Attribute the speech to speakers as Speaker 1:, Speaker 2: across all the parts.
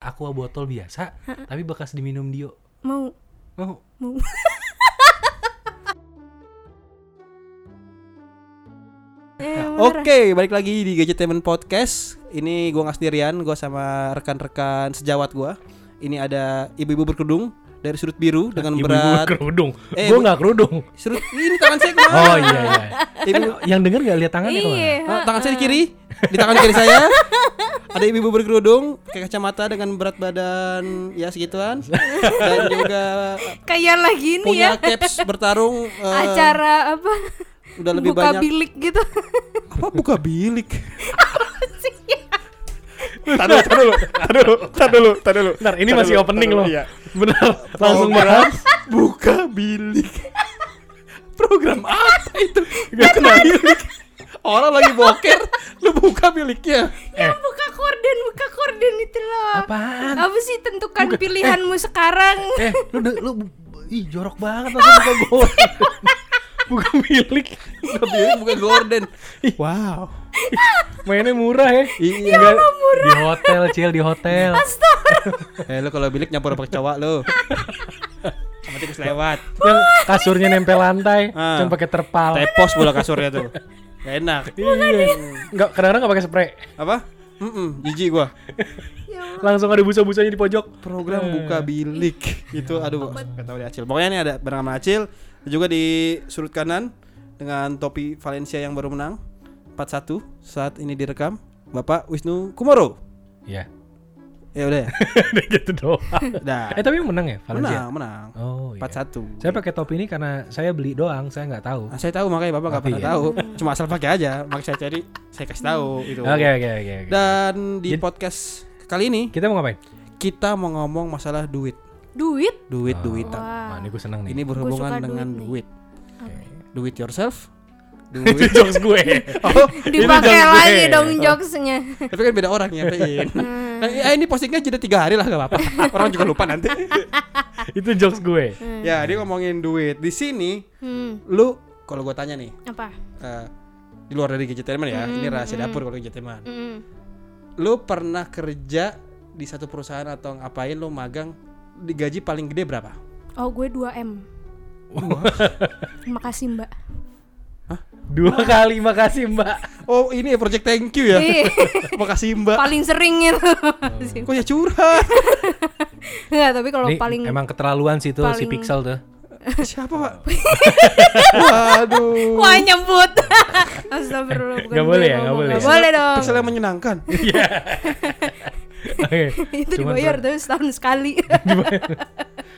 Speaker 1: aqua botol biasa tapi bekas diminum Dio
Speaker 2: mau
Speaker 1: mau
Speaker 2: mau Eh, marah.
Speaker 3: Oke, balik lagi di Gadgetainment Podcast. Ini gua nggak sendirian, gua sama rekan-rekan sejawat gua. Ini ada ibu-ibu berkerudung dari sudut biru dengan
Speaker 1: Ibu-ibu
Speaker 3: berat
Speaker 1: kerudung
Speaker 3: Eh,
Speaker 1: gue
Speaker 3: bu-
Speaker 1: nggak kerudung
Speaker 3: sudut ini tangan saya kemana?
Speaker 1: oh iya iya kan
Speaker 3: Ibu-
Speaker 1: yang denger nggak lihat tangannya kemana
Speaker 2: Iya.
Speaker 3: Ah, tangan saya di kiri, di tangan kiri saya ada ibu-ibu berkerudung, pakai kacamata dengan berat badan ya segituan dan juga
Speaker 2: Kayak lagi ini ya.
Speaker 3: punya caps bertarung eh,
Speaker 2: Acara apa?
Speaker 3: udah lebih
Speaker 2: Buka
Speaker 3: banyak
Speaker 2: bilik gitu.
Speaker 3: apa buka bilik
Speaker 2: ya.
Speaker 4: Tar dulu, tar dulu, tar dulu, tar dulu, tar dulu.
Speaker 1: Bentar, ini
Speaker 4: Tar
Speaker 1: masih
Speaker 4: dulu,
Speaker 1: opening
Speaker 4: tar dulu,
Speaker 1: loh.
Speaker 4: iya.
Speaker 1: benar langsung
Speaker 4: Program
Speaker 1: berat
Speaker 4: buka bilik.
Speaker 3: program apa itu gak kenal bilik orang lagi boker lu buka biliknya
Speaker 1: eh
Speaker 2: Ya, buka korden, buka korden itu loh.
Speaker 1: Apaan?
Speaker 2: Apa sih tentukan pilihanmu sekarang?
Speaker 1: eh lu de- lu ih jorok banget langsung buka gue buka milik
Speaker 3: buka bilik buka gorden wow
Speaker 1: mainnya murah ya
Speaker 3: Iya.
Speaker 1: Nggak- di hotel cil di hotel
Speaker 3: eh lu kalau bilik nyampur sama kecoa lu sama tikus lewat
Speaker 1: yang kasurnya nempel lantai
Speaker 3: Ah.
Speaker 1: cuma pakai terpal
Speaker 3: tepos bola kasurnya tuh gak enak
Speaker 1: iya nggak kadang-kadang nggak pakai spray
Speaker 3: apa Mm-mm, jijik gua
Speaker 1: langsung ada busa-busanya di pojok
Speaker 3: program
Speaker 1: Hmm.
Speaker 3: buka bilik
Speaker 1: Iya.
Speaker 3: itu aduh nggak tahu di Acil pokoknya ini ada barang sama Acil juga di sudut kanan dengan topi Valencia yang baru menang 4-1 saat ini direkam Bapak Wisnu Kumoro
Speaker 1: Iya
Speaker 3: ya udah ya
Speaker 1: Udah gitu doang
Speaker 3: Dah.
Speaker 1: eh tapi menang ya Valencia
Speaker 3: menang menang
Speaker 1: oh iya
Speaker 3: 4-1
Speaker 1: saya pakai topi ini karena saya beli doang saya nggak tahu
Speaker 3: Nah, saya tahu makanya Bapak nggak
Speaker 1: Tapi
Speaker 3: pernah
Speaker 1: ya.
Speaker 3: tahu cuma asal pakai aja makanya saya cari saya kasih tahu gitu
Speaker 1: oke Iya. oke oke oke.
Speaker 3: dan di
Speaker 1: Jadi-
Speaker 3: podcast kali ini
Speaker 1: kita mau ngapain
Speaker 3: kita mau ngomong masalah duit
Speaker 2: Duit.
Speaker 3: duit
Speaker 1: Ah.
Speaker 3: duitan
Speaker 1: wah
Speaker 2: Wah.
Speaker 1: ini gue seneng nih
Speaker 3: ini berhubungan
Speaker 2: suka
Speaker 3: dengan
Speaker 2: duit
Speaker 3: duit do it yourself do
Speaker 1: itu
Speaker 3: it
Speaker 1: jokes gue Oh,
Speaker 2: Dipakai
Speaker 1: jokes
Speaker 2: lagi
Speaker 1: gue.
Speaker 2: dong jokesnya.
Speaker 3: tapi kan beda orang ya
Speaker 2: Hmm.
Speaker 3: eh, ini postingnya jeda tiga hari lah gak apa-apa orang juga lupa nanti
Speaker 2: Hmm.
Speaker 1: itu jokes gue
Speaker 3: ya dia ngomongin duit di sini
Speaker 2: Hmm.
Speaker 3: lu kalau gue tanya nih
Speaker 2: Apa?
Speaker 3: eh, di luar dari gadgeteman ya ini
Speaker 2: Hmm,
Speaker 3: rahasia
Speaker 2: hmm.
Speaker 3: dapur kalau gadgeteman
Speaker 2: Hmm.
Speaker 3: lu pernah kerja di satu perusahaan atau ngapain lu magang di gaji paling gede berapa
Speaker 2: Oh, gue 2M. Makasih, Mbak.
Speaker 1: dua kali makasih mbak
Speaker 3: oh ini ya project thank you ya
Speaker 2: Iya.
Speaker 3: makasih mbak
Speaker 2: paling sering itu.
Speaker 3: kok ya curhat
Speaker 2: Enggak, tapi kalau
Speaker 1: Ini
Speaker 2: paling
Speaker 1: emang keterlaluan sih tuh si
Speaker 2: paling-
Speaker 1: pixel tuh
Speaker 3: siapa pak waduh
Speaker 2: Wah nyebut Astagfirullah bukan
Speaker 1: Nggak
Speaker 2: gue
Speaker 1: boleh ya,
Speaker 2: ngomong.
Speaker 1: nggak boleh
Speaker 2: Nggak
Speaker 1: ya.
Speaker 2: boleh dong
Speaker 3: pixel yang menyenangkan
Speaker 1: Oke.
Speaker 2: Itu
Speaker 1: Cuman
Speaker 2: dibayar
Speaker 1: ber-
Speaker 2: tapi setahun sekali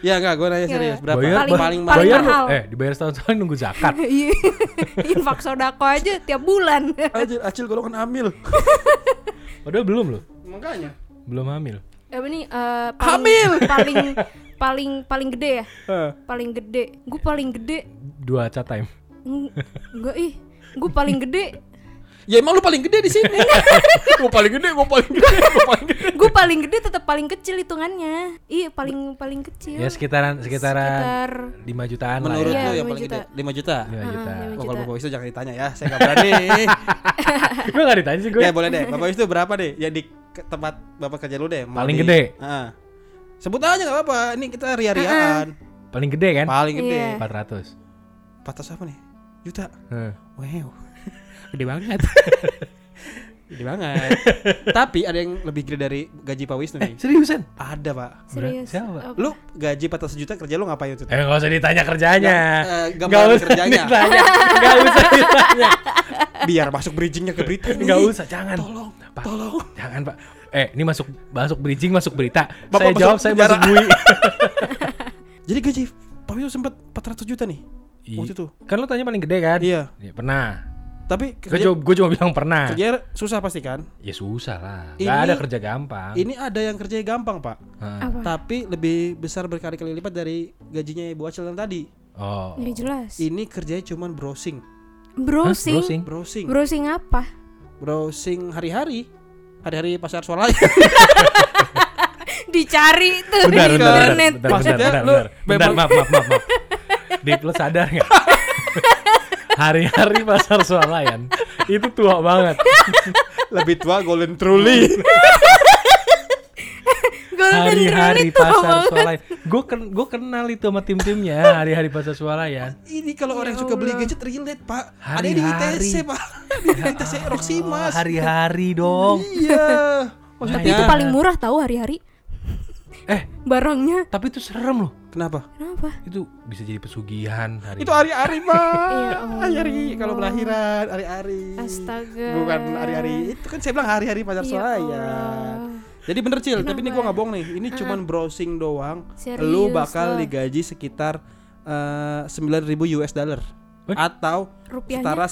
Speaker 3: Ya enggak, gue
Speaker 2: Iya.
Speaker 3: nanya serius berapa?
Speaker 1: Bayar
Speaker 2: Paling-
Speaker 1: paling,
Speaker 2: paling
Speaker 1: bayar
Speaker 2: mahal.
Speaker 1: eh dibayar setahun sekali nunggu zakat
Speaker 2: Iya Infak sodako aja tiap bulan
Speaker 3: Acil, Acil golongan amil.
Speaker 1: padahal belum loh
Speaker 3: Makanya.
Speaker 1: belum hamil
Speaker 2: Apa nih eh, paling, paling Paling paling gede ya Paling gede Gue paling gede
Speaker 1: dua cat time
Speaker 2: Eng- Enggak ih Gue paling gede
Speaker 3: Ya emang lu paling gede di sini. gua paling gede, gua paling gede, gua paling gede.
Speaker 2: Gue paling gede tetap paling kecil hitungannya Iya paling paling kecil
Speaker 1: ya sekitaran sekitaran
Speaker 2: Iya. Sekitar
Speaker 1: 5 jutaan
Speaker 3: Menurut
Speaker 1: lah
Speaker 2: Iya,
Speaker 3: lu yang
Speaker 2: lima
Speaker 3: paling
Speaker 2: juta.
Speaker 3: gede 5 juta.
Speaker 1: ya 5 juta
Speaker 2: lima
Speaker 3: Oh, kalau
Speaker 2: juta.
Speaker 3: Bapak Wisnu jangan ditanya ya, saya nggak berani.
Speaker 1: gue gak ditanya sih gue
Speaker 3: ya boleh deh, Bapak Wisnu berapa deh? Ya di ke- tempat Bapak kerja lu deh. mau
Speaker 1: Paling
Speaker 3: di-
Speaker 1: gede.
Speaker 3: Heeh. Sebut aja nggak apa-apa, ini kita ria-riaan.
Speaker 1: paling gede kan
Speaker 3: Paling gede.
Speaker 2: Iya.
Speaker 1: 400
Speaker 3: Patas apa nih? Juta.
Speaker 1: Heeh.
Speaker 3: Wow. Gede banget. gede banget. Tapi ada yang lebih gede dari gaji Pak Wisnu nih.
Speaker 1: seriusan
Speaker 3: Ada, Pak.
Speaker 2: Serius
Speaker 1: Siapa?
Speaker 2: Apa?
Speaker 3: Lu gaji 400 juta kerja lu ngapain itu?
Speaker 1: eh gak usah ditanya kerjanya
Speaker 3: Eh,
Speaker 1: Nggak
Speaker 3: gambaran
Speaker 1: usah
Speaker 3: kerjanya.
Speaker 1: ditanya gak usah ditanya
Speaker 3: Biar masuk bridgingnya ke berita.
Speaker 1: gak usah jangan
Speaker 3: Tolong,
Speaker 1: Pak,
Speaker 3: tolong.
Speaker 1: jangan pak eh ini masuk masuk bridging masuk berita saya
Speaker 3: Bapak masuk
Speaker 1: jawab saya
Speaker 3: penjara.
Speaker 1: masuk bui
Speaker 3: Jadi gaji Pak Wisnu sempat 400 juta nih.
Speaker 1: Ih,
Speaker 3: Oh, Waktu itu.
Speaker 1: kan lu tanya paling gede kan
Speaker 3: Iya.
Speaker 1: Ya, pernah
Speaker 3: Tapi
Speaker 1: gue
Speaker 3: kerja,
Speaker 1: cuma, gua cuma bilang pernah
Speaker 3: kerja susah pasti kan?
Speaker 1: ya susah lah gak
Speaker 3: Ini-
Speaker 1: ada kerja gampang
Speaker 3: Ini ada yang kerjanya gampang, Pak.
Speaker 1: Hah.
Speaker 2: Apa?
Speaker 3: Tapi lebih besar berkali-kali lipat dari gajinya Ibu Acil yang tadi.
Speaker 1: oh
Speaker 2: Ya jelas
Speaker 3: Ini kerjanya cuman browsing.
Speaker 1: Hah,
Speaker 2: Browsing
Speaker 1: browsing?
Speaker 3: Browsing.
Speaker 2: Browsing apa?
Speaker 3: Browsing hari-hari. Hari-hari pasar suara.
Speaker 2: Dicari tuh
Speaker 1: bentar, bentar, bentar,
Speaker 2: di internet.
Speaker 1: bentar, bentar,
Speaker 3: Maksudnya
Speaker 1: bentar,
Speaker 3: lu
Speaker 1: bentar, bentar,
Speaker 3: memang-
Speaker 1: maaf, maaf, maaf, maaf. Dip, lu sadar nggak? Hari-hari pasar swalayan itu tua banget.
Speaker 3: lebih tua Golden Truly.
Speaker 2: Golden
Speaker 1: hari-hari
Speaker 2: itu lama
Speaker 1: pasar
Speaker 2: banget.
Speaker 1: swalayan. Gue ken gue kenal itu sama tim-timnya hari-hari pasar swalayan.
Speaker 3: Ini kalau orang suka beli gadget relate, Pak. Ada di
Speaker 1: Hari-hari.
Speaker 3: ITC, Pak. Di ITC Roximas.
Speaker 1: Oh, hari-hari dong.
Speaker 3: Iya.
Speaker 2: Tapi itu paling murah tahu hari-hari
Speaker 1: Eh,
Speaker 2: barangnya.
Speaker 1: tapi itu serem loh.
Speaker 3: Kenapa?
Speaker 2: Kenapa?
Speaker 1: Itu bisa jadi pesugihan hari.
Speaker 3: Itu ari-ari, Pak.
Speaker 2: Iya, Allah.
Speaker 3: Ari-ari kalau belahiran, ari-ari.
Speaker 2: Astaga.
Speaker 3: Bukan hari-hari. Itu kan saya bilang hari-hari pasar
Speaker 2: Ya
Speaker 3: swalayan.
Speaker 2: Allah.
Speaker 3: Jadi bener Cil, tapi ini gua
Speaker 2: Kenapa? Ah.
Speaker 3: nggak bohong nih. Ini cuman browsing doang.
Speaker 2: Serius
Speaker 3: lu bakal
Speaker 2: loh.
Speaker 3: digaji sekitar eh, 9.000 US dollar
Speaker 1: What?
Speaker 3: atau
Speaker 2: Rupiahnya?
Speaker 3: setara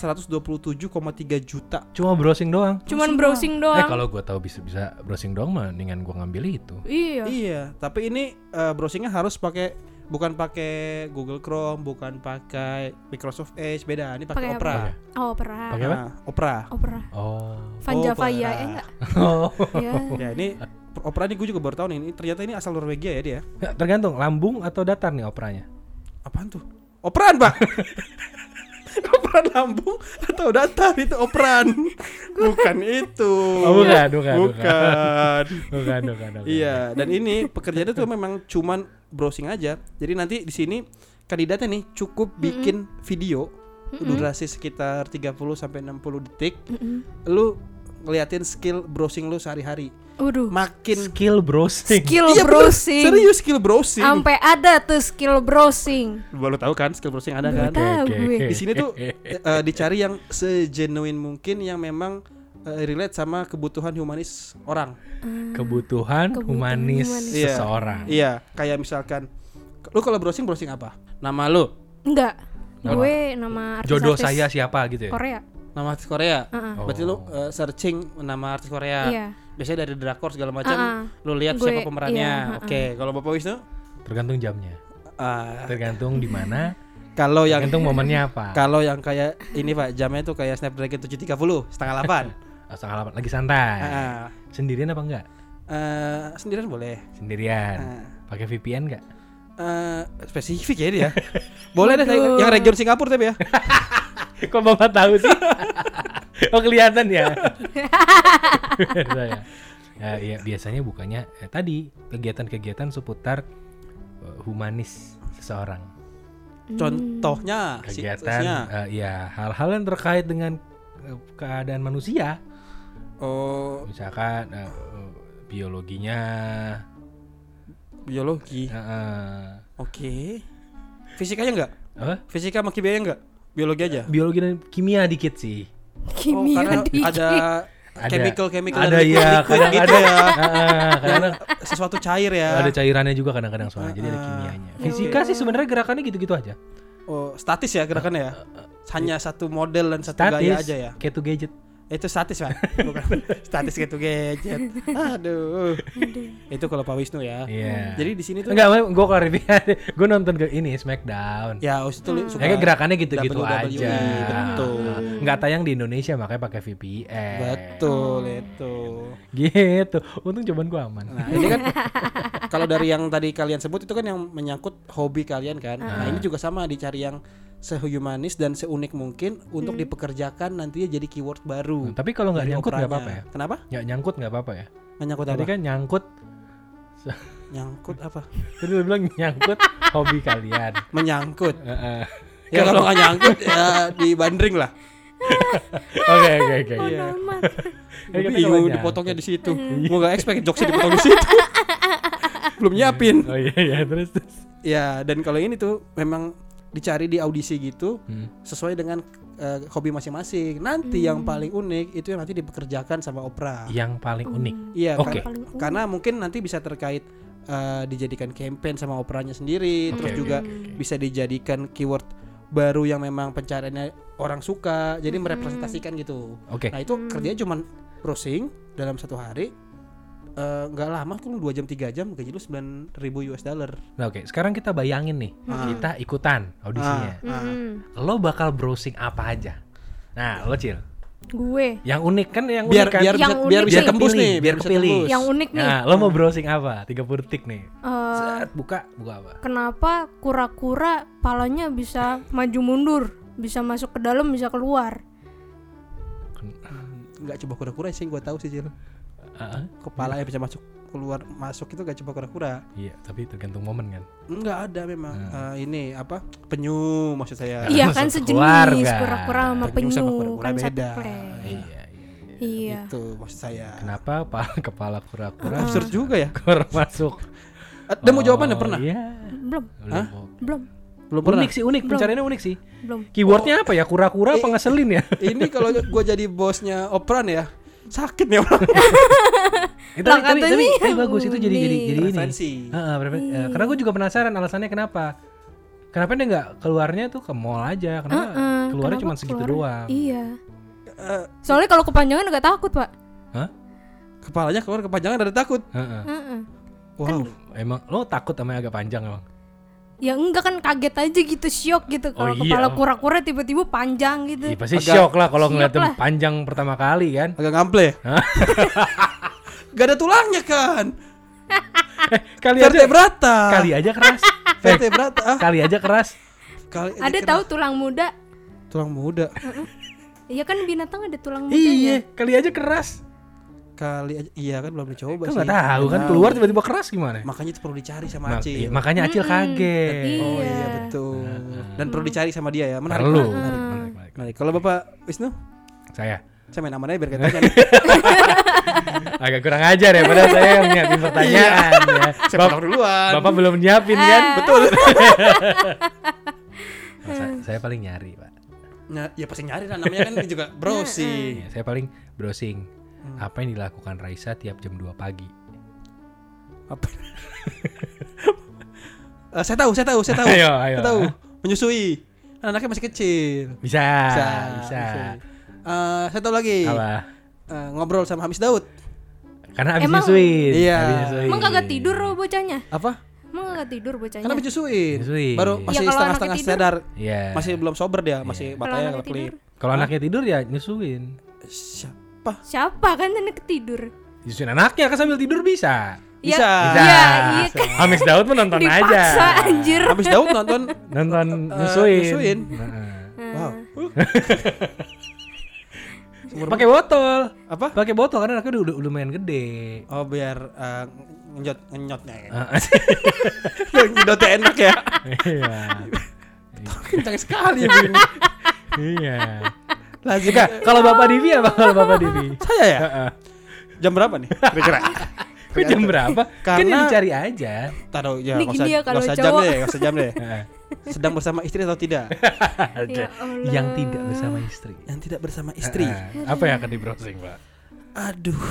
Speaker 3: 127,3 juta.
Speaker 1: Cuma browsing doang.
Speaker 2: Cuman
Speaker 1: Eh
Speaker 2: browsing doang.
Speaker 1: kalau gue tahu bisa bisa browsing doang mendingan gue ngambil itu.
Speaker 2: Iya.
Speaker 3: Iya, tapi ini eh, browsingnya harus pakai bukan pakai Google Chrome, bukan pakai Microsoft Edge, beda. Ini pakai
Speaker 2: Pakai
Speaker 3: Opera.
Speaker 1: apa?
Speaker 2: Oh, opera.
Speaker 1: Pakai apa?
Speaker 3: Nah, Opera.
Speaker 2: Opera.
Speaker 1: Oh.
Speaker 2: Vanja
Speaker 3: Opera.
Speaker 2: Vaya eh enggak? Iya.
Speaker 3: Ya, ini Opera ini gue juga baru tahu nih. Ini ternyata ini asal Norwegia ya dia.
Speaker 1: Nggak, tergantung lambung atau datar nih operanya.
Speaker 3: Apaan tuh? Operan, Pak. operan lambung atau datar itu operan. bukan itu.
Speaker 1: Oh, bukan, bukan,
Speaker 3: Bukan.
Speaker 1: Bukan, bukan, bukan.
Speaker 3: Iya, dan ini pekerjaannya tuh memang cuman browsing aja. Jadi nanti di sini kandidatnya nih cukup bikin video durasi sekitar 30 sampai 60 detik. Lu ngeliatin skill browsing lu sehari-hari.
Speaker 2: Waduh.
Speaker 3: Makin
Speaker 1: Skill browsing.
Speaker 2: Skill
Speaker 3: Iya, bener.
Speaker 2: browsing.
Speaker 3: Serius skill browsing.
Speaker 2: Sampai ada tuh skill browsing.
Speaker 3: Baru tahu kan skill browsing ada kan?
Speaker 2: Tahu gue.
Speaker 3: di sini tuh eh, dicari yang segenuine mungkin yang memang eh, relate sama kebutuhan humanis orang.
Speaker 1: kebutuhan,
Speaker 2: Kebutuhan
Speaker 1: humanis,
Speaker 2: humanis.
Speaker 3: Iya.
Speaker 1: seseorang.
Speaker 3: Iya, kayak misalkan lu kalau browsing browsing apa? Nama lu,
Speaker 2: Enggak.
Speaker 1: Nama-
Speaker 2: Gue nama artis
Speaker 1: Jodoh saya siapa gitu ya?
Speaker 2: Korea.
Speaker 3: nama artis Korea.
Speaker 2: Heeh.
Speaker 3: Berarti lu eh, searching nama artis
Speaker 1: Ya.
Speaker 3: Korea.
Speaker 2: Iya.
Speaker 3: Biasanya dari drakor segala macam.
Speaker 2: Ah, ah.
Speaker 3: Lu lihat
Speaker 2: Gue-
Speaker 3: siapa pemerannya.
Speaker 2: iya, ah, ah.
Speaker 3: Oke, kalau Bapak Wisnu
Speaker 1: Tergantung jamnya.
Speaker 3: ah,
Speaker 1: Tergantung di mana,
Speaker 3: kalau yang
Speaker 1: tergantung momennya apa.
Speaker 3: kalau yang kayak ini Pak, jamnya tuh kayak Snapdragon 730 setengah 8.
Speaker 1: Ah, Setengah delapan lagi santai.
Speaker 3: Heeh. Eh,
Speaker 1: Sendirian apa enggak?
Speaker 3: sendirian boleh.
Speaker 1: Sendirian.
Speaker 3: Ah.
Speaker 1: Pakai VPN enggak?
Speaker 3: Eh, spesifik ya dia. Boleh deh yang, yang region Singapura tapi ya.
Speaker 1: Kok Bapak tahu sih? oh kelihatan ya. Saya. Ya, iya, biasanya bukannya eh, tadi kegiatan-kegiatan seputar eh, humanis seseorang.
Speaker 2: Hmm.
Speaker 3: Contohnya
Speaker 1: Kegiatan
Speaker 3: situsnya.
Speaker 1: eh, ya hal-hal yang terkait dengan eh, keadaan manusia,
Speaker 3: Oh,
Speaker 1: misalkan eh, eh, biologinya, eh,
Speaker 3: biologi.
Speaker 1: eh,
Speaker 3: Oke. Fisikanya enggak?
Speaker 1: apa?
Speaker 3: Fisika sama kimia enggak? Biologi aja.
Speaker 1: biologi dan kimia dikit sih.
Speaker 3: oh,
Speaker 2: Kimia
Speaker 3: karena
Speaker 2: dikit.
Speaker 3: ada
Speaker 1: Ada-
Speaker 3: chemical chemical
Speaker 1: Ada ya, kadang
Speaker 3: gitu
Speaker 1: ada
Speaker 3: ya.
Speaker 1: Ah, kadang
Speaker 3: Sesuatu cair ya.
Speaker 1: ada cairannya juga kadang-kadang soalnya, jadi ada
Speaker 3: Ah,
Speaker 1: kimianya.
Speaker 2: oke.
Speaker 1: Fisika sih sebenarnya gerakannya gitu-gitu aja.
Speaker 3: Oh, statis ya gerakannya ya. Hanya satu model dan satu
Speaker 1: Statis,
Speaker 3: gaya aja ya.
Speaker 1: kayak tuh gadget.
Speaker 3: Itu statis pak, bukan statis gitu gadget. Aduh. Itu kalau Pak Wisnu ya.
Speaker 1: Iya.
Speaker 3: Jadi di sini tuh
Speaker 1: Enggak, gue klarifikasi, gue nonton ke ini Smackdown.
Speaker 3: ya Wisnu tuh suka
Speaker 1: Ya kayak gerakannya gitu-gitu
Speaker 3: WWE,
Speaker 1: aja.
Speaker 3: Betul.
Speaker 1: Nggak tayang di Indonesia makanya pakai VPN.
Speaker 3: Betul itu.
Speaker 1: Gitu. Untung cobaan gue aman.
Speaker 3: Nah, ini kan kalau dari yang tadi kalian sebut itu kan yang menyangkut hobi kalian kan. Nah, ini juga sama dicari yang sehumanis dan seunik mungkin untuk dipekerjakan nantinya jadi keyword
Speaker 1: Nah,
Speaker 3: baru.
Speaker 1: tapi kalau nggak
Speaker 3: Dari
Speaker 1: nyangkut nggak
Speaker 3: operanya.
Speaker 1: apa-apa ya.
Speaker 3: Kenapa?
Speaker 1: Nggak nyangkut nggak apa-apa ya.
Speaker 3: Nggak Nyangkut
Speaker 1: Tadi
Speaker 3: apa?
Speaker 1: kan nyangkut,
Speaker 3: Nyangkut apa?
Speaker 1: tadi lu bilang nyangkut hobi kalian.
Speaker 3: Menyangkut.
Speaker 1: Heeh.
Speaker 3: Ya kalau nggak nyangkut ya dibandring lah.
Speaker 1: Oke oke oke.
Speaker 3: Iya.
Speaker 2: Oh, Norman.
Speaker 1: Jadi kan
Speaker 3: Gue
Speaker 1: kita
Speaker 3: bingung
Speaker 1: nggak
Speaker 3: dipotongnya di situ. Gue nggak expect jokesnya dipotong di situ. Belum nyiapin.
Speaker 1: Oh iya iya terus terus.
Speaker 3: Ya dan kalau ini tuh memang dicari di audisi gitu
Speaker 1: Hmm.
Speaker 3: sesuai dengan eh, hobi masing-masing. Nanti yang paling unik itu yang nanti dipekerjakan sama opera.
Speaker 1: Yang paling unik.
Speaker 3: Iya,
Speaker 1: Oke.
Speaker 3: kar- karena mungkin nanti bisa terkait eh, dijadikan campaign sama operanya sendiri, terus
Speaker 1: oke,
Speaker 3: juga
Speaker 1: oke, oke.
Speaker 3: bisa dijadikan keyword baru yang memang pencariannya orang suka, jadi merepresentasikan gitu.
Speaker 1: Hmm. Oke.
Speaker 3: Nah itu kerjanya cuman browsing dalam satu hari, eh, nggak lama, kurang dua jam tiga jam, gaji lu sembilan ribu US dollar.
Speaker 1: Nah, oke, sekarang kita bayangin nih,
Speaker 3: Ah.
Speaker 1: kita ikutan audisinya.
Speaker 2: Mm-mm.
Speaker 1: Lo bakal browsing apa aja? Nah, lo cil.
Speaker 2: Gue.
Speaker 1: Yang unik kan yang
Speaker 3: Biar
Speaker 1: unik kan?
Speaker 3: biar
Speaker 2: Yang
Speaker 3: bisa, biar
Speaker 2: unik
Speaker 3: bisa
Speaker 2: sih.
Speaker 3: tembus
Speaker 1: Pilih,
Speaker 3: nih, biar
Speaker 1: biar
Speaker 3: bisa
Speaker 1: kepilih.
Speaker 3: tembus.
Speaker 2: Yang unik nih.
Speaker 1: Nah, lo mau browsing apa? 30 detik nih.
Speaker 2: Eh,
Speaker 1: Set, buka, buka apa?
Speaker 2: kenapa kura-kura palanya bisa maju mundur, bisa masuk ke dalam, bisa keluar?
Speaker 3: Nggak coba kura-kura sih, gue tahu sih Jil.
Speaker 1: Ah,
Speaker 3: Kepala yang bisa masuk. keluar masuk itu gak coba kura-kura
Speaker 1: Iya, tapi tergantung momen kan.
Speaker 3: Enggak ada memang
Speaker 1: Ah.
Speaker 3: Eh, ini apa penyu maksud saya
Speaker 2: Iya
Speaker 1: Nah,
Speaker 2: kan
Speaker 1: Masuk
Speaker 2: sejenis
Speaker 1: keluarga.
Speaker 2: kura-kura sama
Speaker 3: Penyu
Speaker 2: penyu,
Speaker 3: sama kura-kura
Speaker 2: kan satu
Speaker 3: beda. Gitu.
Speaker 2: plan.
Speaker 1: Iya, iya.
Speaker 2: Iya.
Speaker 3: itu maksud saya
Speaker 1: Kenapa pa- kepala kura-kura
Speaker 3: absurd
Speaker 2: Ah.
Speaker 3: juga ya
Speaker 1: kura masuk?
Speaker 3: ada mau jawabannya
Speaker 1: Oh,
Speaker 3: pernah
Speaker 1: Iya.
Speaker 2: Belum,
Speaker 1: Belum,
Speaker 3: Hah?
Speaker 1: Bok.
Speaker 2: belum,
Speaker 3: belum pernah
Speaker 1: Unik sih, unik. Pencariannya unik sih.
Speaker 2: belum.
Speaker 1: Keywordnya apa ya? Kura-kura apa ngeselin ya?
Speaker 3: ini kalau gua jadi bosnya operan ya sakit nih orang
Speaker 1: Eh,
Speaker 2: Lah,
Speaker 1: tapi, tapi, tapi,
Speaker 2: katanya
Speaker 1: tapi bagus itu jadi jadi jadi ini.
Speaker 3: Referensi.
Speaker 1: Heeh, prefer- eh, karena gue juga penasaran alasannya kenapa. Kenapa dia nggak keluarnya tuh ke mall aja? Kenapa
Speaker 2: Eh,
Speaker 1: keluarnya
Speaker 2: kenapa
Speaker 1: cuma segitu
Speaker 2: keluar?
Speaker 1: doang?
Speaker 2: Iya.
Speaker 3: Eh.
Speaker 2: Soalnya kalau kepanjangan agak takut, Pak.
Speaker 1: Hah?
Speaker 3: kepalanya keluar kepanjangan dari takut
Speaker 1: Heeh.
Speaker 2: Heeh. Kan
Speaker 3: wow
Speaker 1: Emang lo takut sama yang agak panjang emang?
Speaker 2: Ya enggak kan kaget aja gitu, syok gitu
Speaker 1: Oh,
Speaker 2: kalau
Speaker 1: iya.
Speaker 2: kepala kura-kura tiba-tiba panjang gitu.
Speaker 1: Iya pasti
Speaker 3: Agak-
Speaker 1: shock lah kalau
Speaker 2: Shock
Speaker 1: ngeliat
Speaker 2: lah.
Speaker 1: panjang pertama kali kan.
Speaker 3: agak ngample ya? gak ada tulangnya kan
Speaker 1: Eh, kali aja
Speaker 3: vertebrata
Speaker 1: kali aja keras. Eh,
Speaker 3: vertebrata ah,
Speaker 1: kali aja keras.
Speaker 3: kali
Speaker 2: Ada
Speaker 3: kena-
Speaker 2: tahu tulang muda?
Speaker 3: tulang muda
Speaker 2: Iya kan binatang ada tulang mudanya.
Speaker 1: Iya, kali aja keras.
Speaker 3: kali aja iya kan belum dicoba
Speaker 1: Kan
Speaker 3: sih
Speaker 1: nggak tahu kan
Speaker 3: Nah,
Speaker 1: keluar tiba-tiba keras gimana?
Speaker 3: makanya itu perlu dicari sama
Speaker 1: Ma-
Speaker 3: Acil
Speaker 1: Eh. iya, makanya Acil kaget.
Speaker 3: oh iya
Speaker 2: Iya.
Speaker 3: betul dan perlu dicari sama dia ya menarik
Speaker 1: Perlu.
Speaker 3: menarik,
Speaker 1: Menarik, menarik.
Speaker 3: menarik. kalau bapak Wisnu
Speaker 1: Saya
Speaker 3: saya main aman aja biar katanya
Speaker 1: agak kurang ajar ya padahal saya yang nyiapin pertanyaan ya.
Speaker 3: saya
Speaker 1: Bap-
Speaker 3: pulang duluan
Speaker 1: Bapak belum nyiapin
Speaker 2: Eh,
Speaker 1: kan?
Speaker 2: Iya.
Speaker 1: Betul. Nah, saya, paling nyari, Pak.
Speaker 3: Nah, ya pasti nyari lah namanya kan juga
Speaker 1: Iya,
Speaker 3: browsing
Speaker 1: saya paling browsing apa yang dilakukan Raisa tiap jam 2 pagi.
Speaker 3: apa Eh, saya tahu saya tahu saya tahu
Speaker 1: Ayo, ayo.
Speaker 3: saya tahu menyusui Kan anaknya masih kecil
Speaker 1: Bisa, Ah, bisa.
Speaker 3: Eh, saya tahu lagi
Speaker 1: Apa?
Speaker 3: Eh, ngobrol sama Hamis Daud
Speaker 1: Karena habis
Speaker 2: Emang-
Speaker 1: nyusuin.
Speaker 3: Iya.
Speaker 1: habis nyusuin.
Speaker 2: Emang kagak tidur loh bocahnya?
Speaker 3: apa
Speaker 2: Emang kagak tidur bocahnya?
Speaker 3: karena menyusuin
Speaker 1: Menyusui.
Speaker 3: baru
Speaker 1: Iya,
Speaker 2: Iya. Ya,
Speaker 3: masih
Speaker 2: kalau
Speaker 3: setengah-setengah
Speaker 2: anaknya tidur.
Speaker 3: sadar
Speaker 1: Iya.
Speaker 3: masih belum sober dia
Speaker 2: Kalau
Speaker 3: masih batanya
Speaker 2: anaknya
Speaker 3: kelip
Speaker 1: Kalau anaknya tidur ya nyusuin.
Speaker 3: siapa
Speaker 2: Siapa kan tanda ketidur?
Speaker 1: Nyusuin anaknya kan sambil tidur bisa.
Speaker 2: Ya,
Speaker 3: Bisa.
Speaker 1: Bisa.
Speaker 2: Iya, iya kan.
Speaker 1: Hamis Daud mah nonton aja.
Speaker 2: Dipaksa anjir.
Speaker 3: Hamis Daud nonton
Speaker 1: Nonton
Speaker 3: Eh,
Speaker 1: nyusuin.
Speaker 3: nyusuin.
Speaker 1: Heeh.
Speaker 3: wow
Speaker 1: Pakai botol.
Speaker 3: apa
Speaker 1: Pakai botol karena anaknya udah, udah lumayan gede.
Speaker 3: oh biar eh, ngenyot ngenyotnya ya.
Speaker 1: Heeh.
Speaker 3: yang nyedotnya enak ya
Speaker 1: Iya.
Speaker 3: kencang sekali ya bunyinya.
Speaker 1: Iya.
Speaker 3: lazim
Speaker 1: Jika kalau Bapak Divi apa kalau Bapak Divi?
Speaker 3: saya ya
Speaker 1: Heeh.
Speaker 3: jam berapa nih kira-kira
Speaker 1: Kok jam berapa? Kan
Speaker 3: Karena-
Speaker 1: yang dicari aja.
Speaker 3: taruh ya
Speaker 2: Ini
Speaker 3: nggak
Speaker 2: gini
Speaker 3: usah,
Speaker 2: ya kalau
Speaker 3: nggak usah jam
Speaker 2: cowok.
Speaker 3: deh nggak usah jam deh
Speaker 1: Heeh.
Speaker 3: sedang bersama istri atau tidak
Speaker 2: Ya Allah.
Speaker 1: yang tidak bersama istri.
Speaker 3: yang tidak bersama istri
Speaker 1: Heeh. Nah, Apa yang akan di browsing, Pak?
Speaker 3: aduh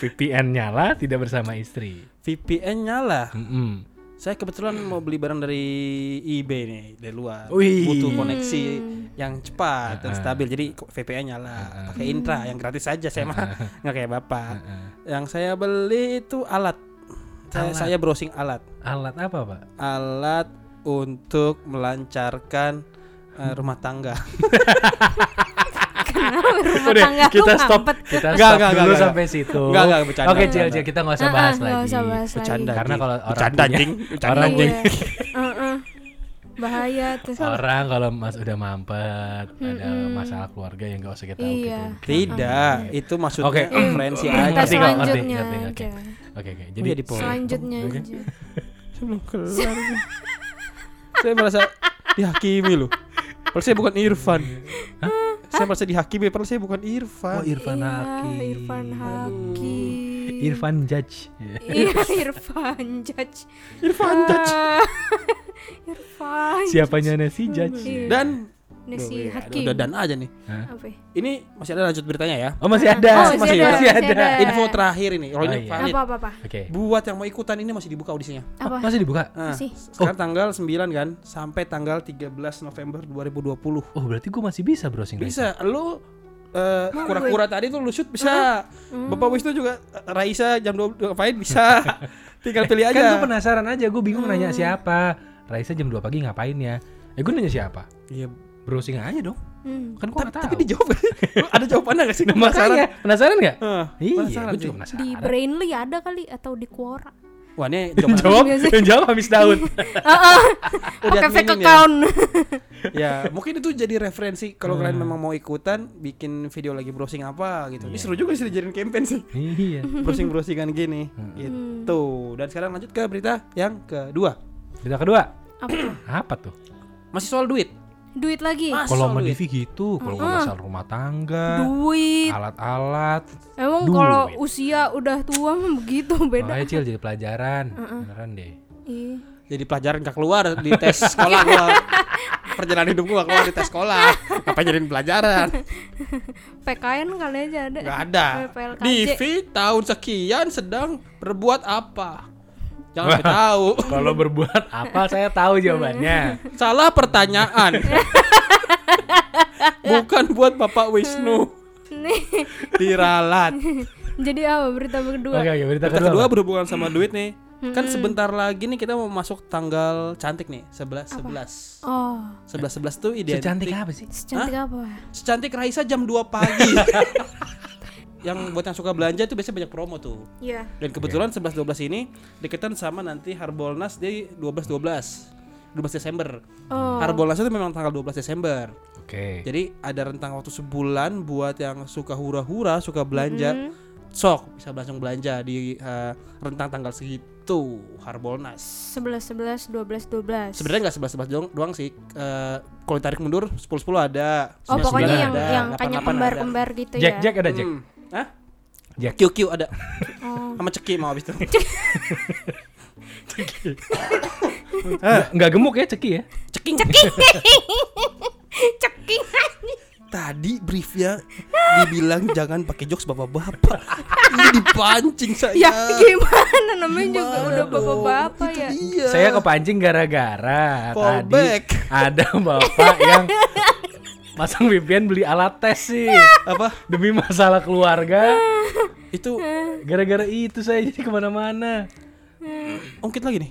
Speaker 1: VPN nyala tidak bersama istri.
Speaker 3: VPN nyala
Speaker 1: Mm-mm.
Speaker 3: saya kebetulan mau beli barang dari eBay nih dari luar
Speaker 1: Wih. Ah,
Speaker 3: butuh koneksi yang cepat dan
Speaker 1: Heeh.
Speaker 3: stabil jadi VPN
Speaker 1: Ah,
Speaker 3: nyala pakai intra yang gratis aja saya mah nggak kayak bapak
Speaker 1: Heeh.
Speaker 3: yang saya beli itu alat saya,
Speaker 1: ah. Alat.
Speaker 3: saya browsing alat
Speaker 1: Alat apa, Pak?
Speaker 3: alat untuk melancarkan eh, rumah tangga
Speaker 2: Kenapa Nah, rumah
Speaker 1: Udah,
Speaker 2: tangga
Speaker 1: kita
Speaker 2: lu
Speaker 1: stop
Speaker 2: mampet?
Speaker 1: kita
Speaker 3: Nggak,
Speaker 1: stop
Speaker 3: nggak,
Speaker 1: dulu
Speaker 3: nggak,
Speaker 1: sampai situ.
Speaker 3: Nggak, nggak, bercanda,
Speaker 1: Oke, Cil,
Speaker 3: bercanda.
Speaker 1: Cil, kita nggak usah bahas
Speaker 2: Ah, ah,
Speaker 1: lagi.
Speaker 2: nggak usah bahas lagi.
Speaker 3: Bercanda.
Speaker 1: Karena kalau orang
Speaker 3: Bercanda,
Speaker 1: punya
Speaker 3: anjing. Bercanda,
Speaker 1: orang,
Speaker 2: Iya. Heeh. Bahaya tuh.
Speaker 1: orang kalau Mas udah mampet ada masalah keluarga yang nggak usah kita tahu
Speaker 2: Iya.
Speaker 1: gitu.
Speaker 3: tidak itu maksudnya
Speaker 1: Hmm. Oke. Mm.
Speaker 3: referensi
Speaker 2: Kita
Speaker 3: aja
Speaker 1: ngerti kok, ngerti,
Speaker 2: selanjutnya
Speaker 1: ngerti, oke.
Speaker 2: aja.
Speaker 1: Oke, oke.
Speaker 3: jadi
Speaker 1: Jadi
Speaker 3: di poin
Speaker 2: Selanjutnya aja.
Speaker 3: saya merasa dihakimi loh padahal saya bukan Irfan saya merasa dihakimi padahal saya bukan
Speaker 1: Oh,
Speaker 3: Irfan
Speaker 1: Irfan
Speaker 2: Iya,
Speaker 1: Haki.
Speaker 2: Irfan Haki.
Speaker 1: Irfan Judge. Iya.
Speaker 2: Iya, Irfan Judge.
Speaker 3: Irfan Judge.
Speaker 2: Ah, Irfan.
Speaker 1: Siapanya si Judge?
Speaker 2: Iya.
Speaker 3: dan
Speaker 2: Ini si
Speaker 3: Duh, ya,
Speaker 2: Hakim.
Speaker 3: udah dan aja nih
Speaker 2: Apa? ya?
Speaker 3: ini masih ada lanjut beritanya ya
Speaker 1: Oh, masih ada.
Speaker 2: Oh, masih ada, masih ada.
Speaker 3: info terakhir ini kalau
Speaker 1: Oh,
Speaker 3: ini
Speaker 1: iya.
Speaker 3: valid.
Speaker 2: Eh. Apa apa apa?
Speaker 1: Oke.
Speaker 3: buat yang mau ikutan ini masih dibuka audisinya
Speaker 2: Apa?
Speaker 1: Masih dibuka?
Speaker 3: Nah,
Speaker 2: Masih.
Speaker 3: sekarang tanggal 9 kan sampai tanggal 13 November 2020
Speaker 1: Oh, berarti gue masih bisa browsing lagi.
Speaker 3: bisa lu eh, kura-kura tadi tuh lu shoot bisa Bapak
Speaker 2: Hmm.
Speaker 3: Wisnu juga eh, Raisa jam 12 ngapain bisa tinggal pilih
Speaker 1: Kan gue
Speaker 3: aja
Speaker 1: penasaran aja, gue bingung nanya siapa. Raisa jam 2 pagi ngapain ya? Eh, gue nanya siapa?
Speaker 3: Iya.
Speaker 1: Browsing aja dong.
Speaker 2: Hmm.
Speaker 1: Kan gue
Speaker 3: Ta-
Speaker 1: nggak tahu. Nah,
Speaker 3: tapi dijawab gak sih? Lu ada jawabannya gak sih
Speaker 1: penasaran. Penasaran nggak?
Speaker 3: Hah,
Speaker 1: Iya,
Speaker 3: penasaran
Speaker 1: gue
Speaker 3: sih.
Speaker 1: juga penasaran.
Speaker 2: Di Brainly ada kali atau di Quora.
Speaker 3: Wah ini
Speaker 1: Yang
Speaker 3: jawaban
Speaker 1: jawab,
Speaker 2: Nggak sih?
Speaker 1: yang jawab habis Daud.
Speaker 3: udah
Speaker 2: Pakai fake
Speaker 3: adminin ya.
Speaker 2: account.
Speaker 3: ya mungkin itu jadi referensi kalau kalian memang mau ikutan bikin video lagi browsing apa gitu ini
Speaker 1: Hmm. Iya.
Speaker 3: seru juga sih dijadiin campaign sih
Speaker 1: iya.
Speaker 3: browsing browsingan gini
Speaker 1: Hmm.
Speaker 3: gitu dan sekarang lanjut ke berita yang kedua
Speaker 1: Berita kedua.
Speaker 2: Apa tuh?
Speaker 1: Apa tuh?
Speaker 3: masih soal duit
Speaker 2: Duit lagi.
Speaker 3: Mas-
Speaker 1: Kalau sama
Speaker 3: Soal duit.
Speaker 1: Divi gitu, kalau nggak
Speaker 2: Mm-mm.
Speaker 1: masalah rumah tangga,
Speaker 2: Duit.
Speaker 1: alat-alat,
Speaker 2: Emang
Speaker 1: Ah. duit.
Speaker 2: kalau usia udah tua mah begitu beda.
Speaker 1: makanya Cil jadi pelajaran. Beneran deh.
Speaker 2: Iya.
Speaker 3: jadi pelajaran gak keluar di tes sekolah gua perjalanan hidup gua nggak keluar di tes sekolah apa jadiin pelajaran
Speaker 2: PKN kali aja ada.
Speaker 3: nggak ada
Speaker 2: PLKJ.
Speaker 3: Divi tahun sekian sedang berbuat apa jangan sampai tahu
Speaker 1: Kalau berbuat apa saya tahu jawabannya.
Speaker 3: salah pertanyaan bukan buat bapak Wisnu
Speaker 2: Nih.
Speaker 3: diralat
Speaker 2: Jadi apa berita kedua?
Speaker 1: Oke, oke, berita,
Speaker 3: Berita
Speaker 1: kedua.
Speaker 3: kedua berhubungan sama duit nih. Kan sebentar lagi nih kita mau masuk tanggal cantik nih, 11 11.
Speaker 2: Oh,
Speaker 3: 11 11 tuh
Speaker 1: Secantik
Speaker 3: identik.
Speaker 1: apa sih?
Speaker 2: secantik apa?
Speaker 3: Secantik Raisa jam 2 pagi. yang buat yang suka belanja tuh biasanya banyak promo tuh.
Speaker 2: Iya.
Speaker 3: Dan kebetulan 11 12 ini deketan sama nanti Harbolnas di 12 12. 12 Desember.
Speaker 2: Oh.
Speaker 3: Harbolnas itu memang tanggal 12 Desember.
Speaker 1: Oke.
Speaker 3: Jadi ada rentang waktu sebulan buat yang suka hura-hura, suka belanja,
Speaker 2: Mm-hmm.
Speaker 3: sok bisa langsung belanja di eh, rentang tanggal segitu Harbolnas.
Speaker 2: 11 11 12 12.
Speaker 3: Sebenarnya nggak sebelas sebelas doang, doang sih. Eh, kalau ditarik mundur 10 10 ada.
Speaker 2: Oh, pokoknya
Speaker 3: 9-9
Speaker 1: Sembilan
Speaker 2: yang
Speaker 3: ada,
Speaker 2: yang
Speaker 3: 8-8
Speaker 2: kayaknya
Speaker 3: ada.
Speaker 2: kembar-kembar gitu
Speaker 1: Jack
Speaker 2: ya.
Speaker 1: Jack ada Jack.
Speaker 3: Hmm. Hah?
Speaker 1: Jack.
Speaker 3: QQ ada.
Speaker 2: Oh.
Speaker 3: Sama Ceki mau habis itu.
Speaker 1: Nggak- Nggak gemuk ya Ceki ya?
Speaker 3: Ceking.
Speaker 2: Ceking.
Speaker 3: Tadi briefnya dibilang jangan pakai jokes bapak-bapak. Ini dipancing
Speaker 2: ya
Speaker 3: saya.
Speaker 2: gimana namanya juga
Speaker 3: Gimana
Speaker 2: udah
Speaker 3: dong?
Speaker 2: bapak-bapak
Speaker 3: Itu
Speaker 2: ya.
Speaker 3: dia.
Speaker 1: Saya kepancing gara-gara
Speaker 3: Fall
Speaker 1: tadi
Speaker 3: back.
Speaker 1: ada bapak yang pasang VPN beli alat tes sih
Speaker 3: apa?
Speaker 1: demi masalah keluarga.
Speaker 3: Itu
Speaker 2: Eh.
Speaker 1: Gara-gara itu saya jadi kemana-mana.
Speaker 3: ungkit lagi nih.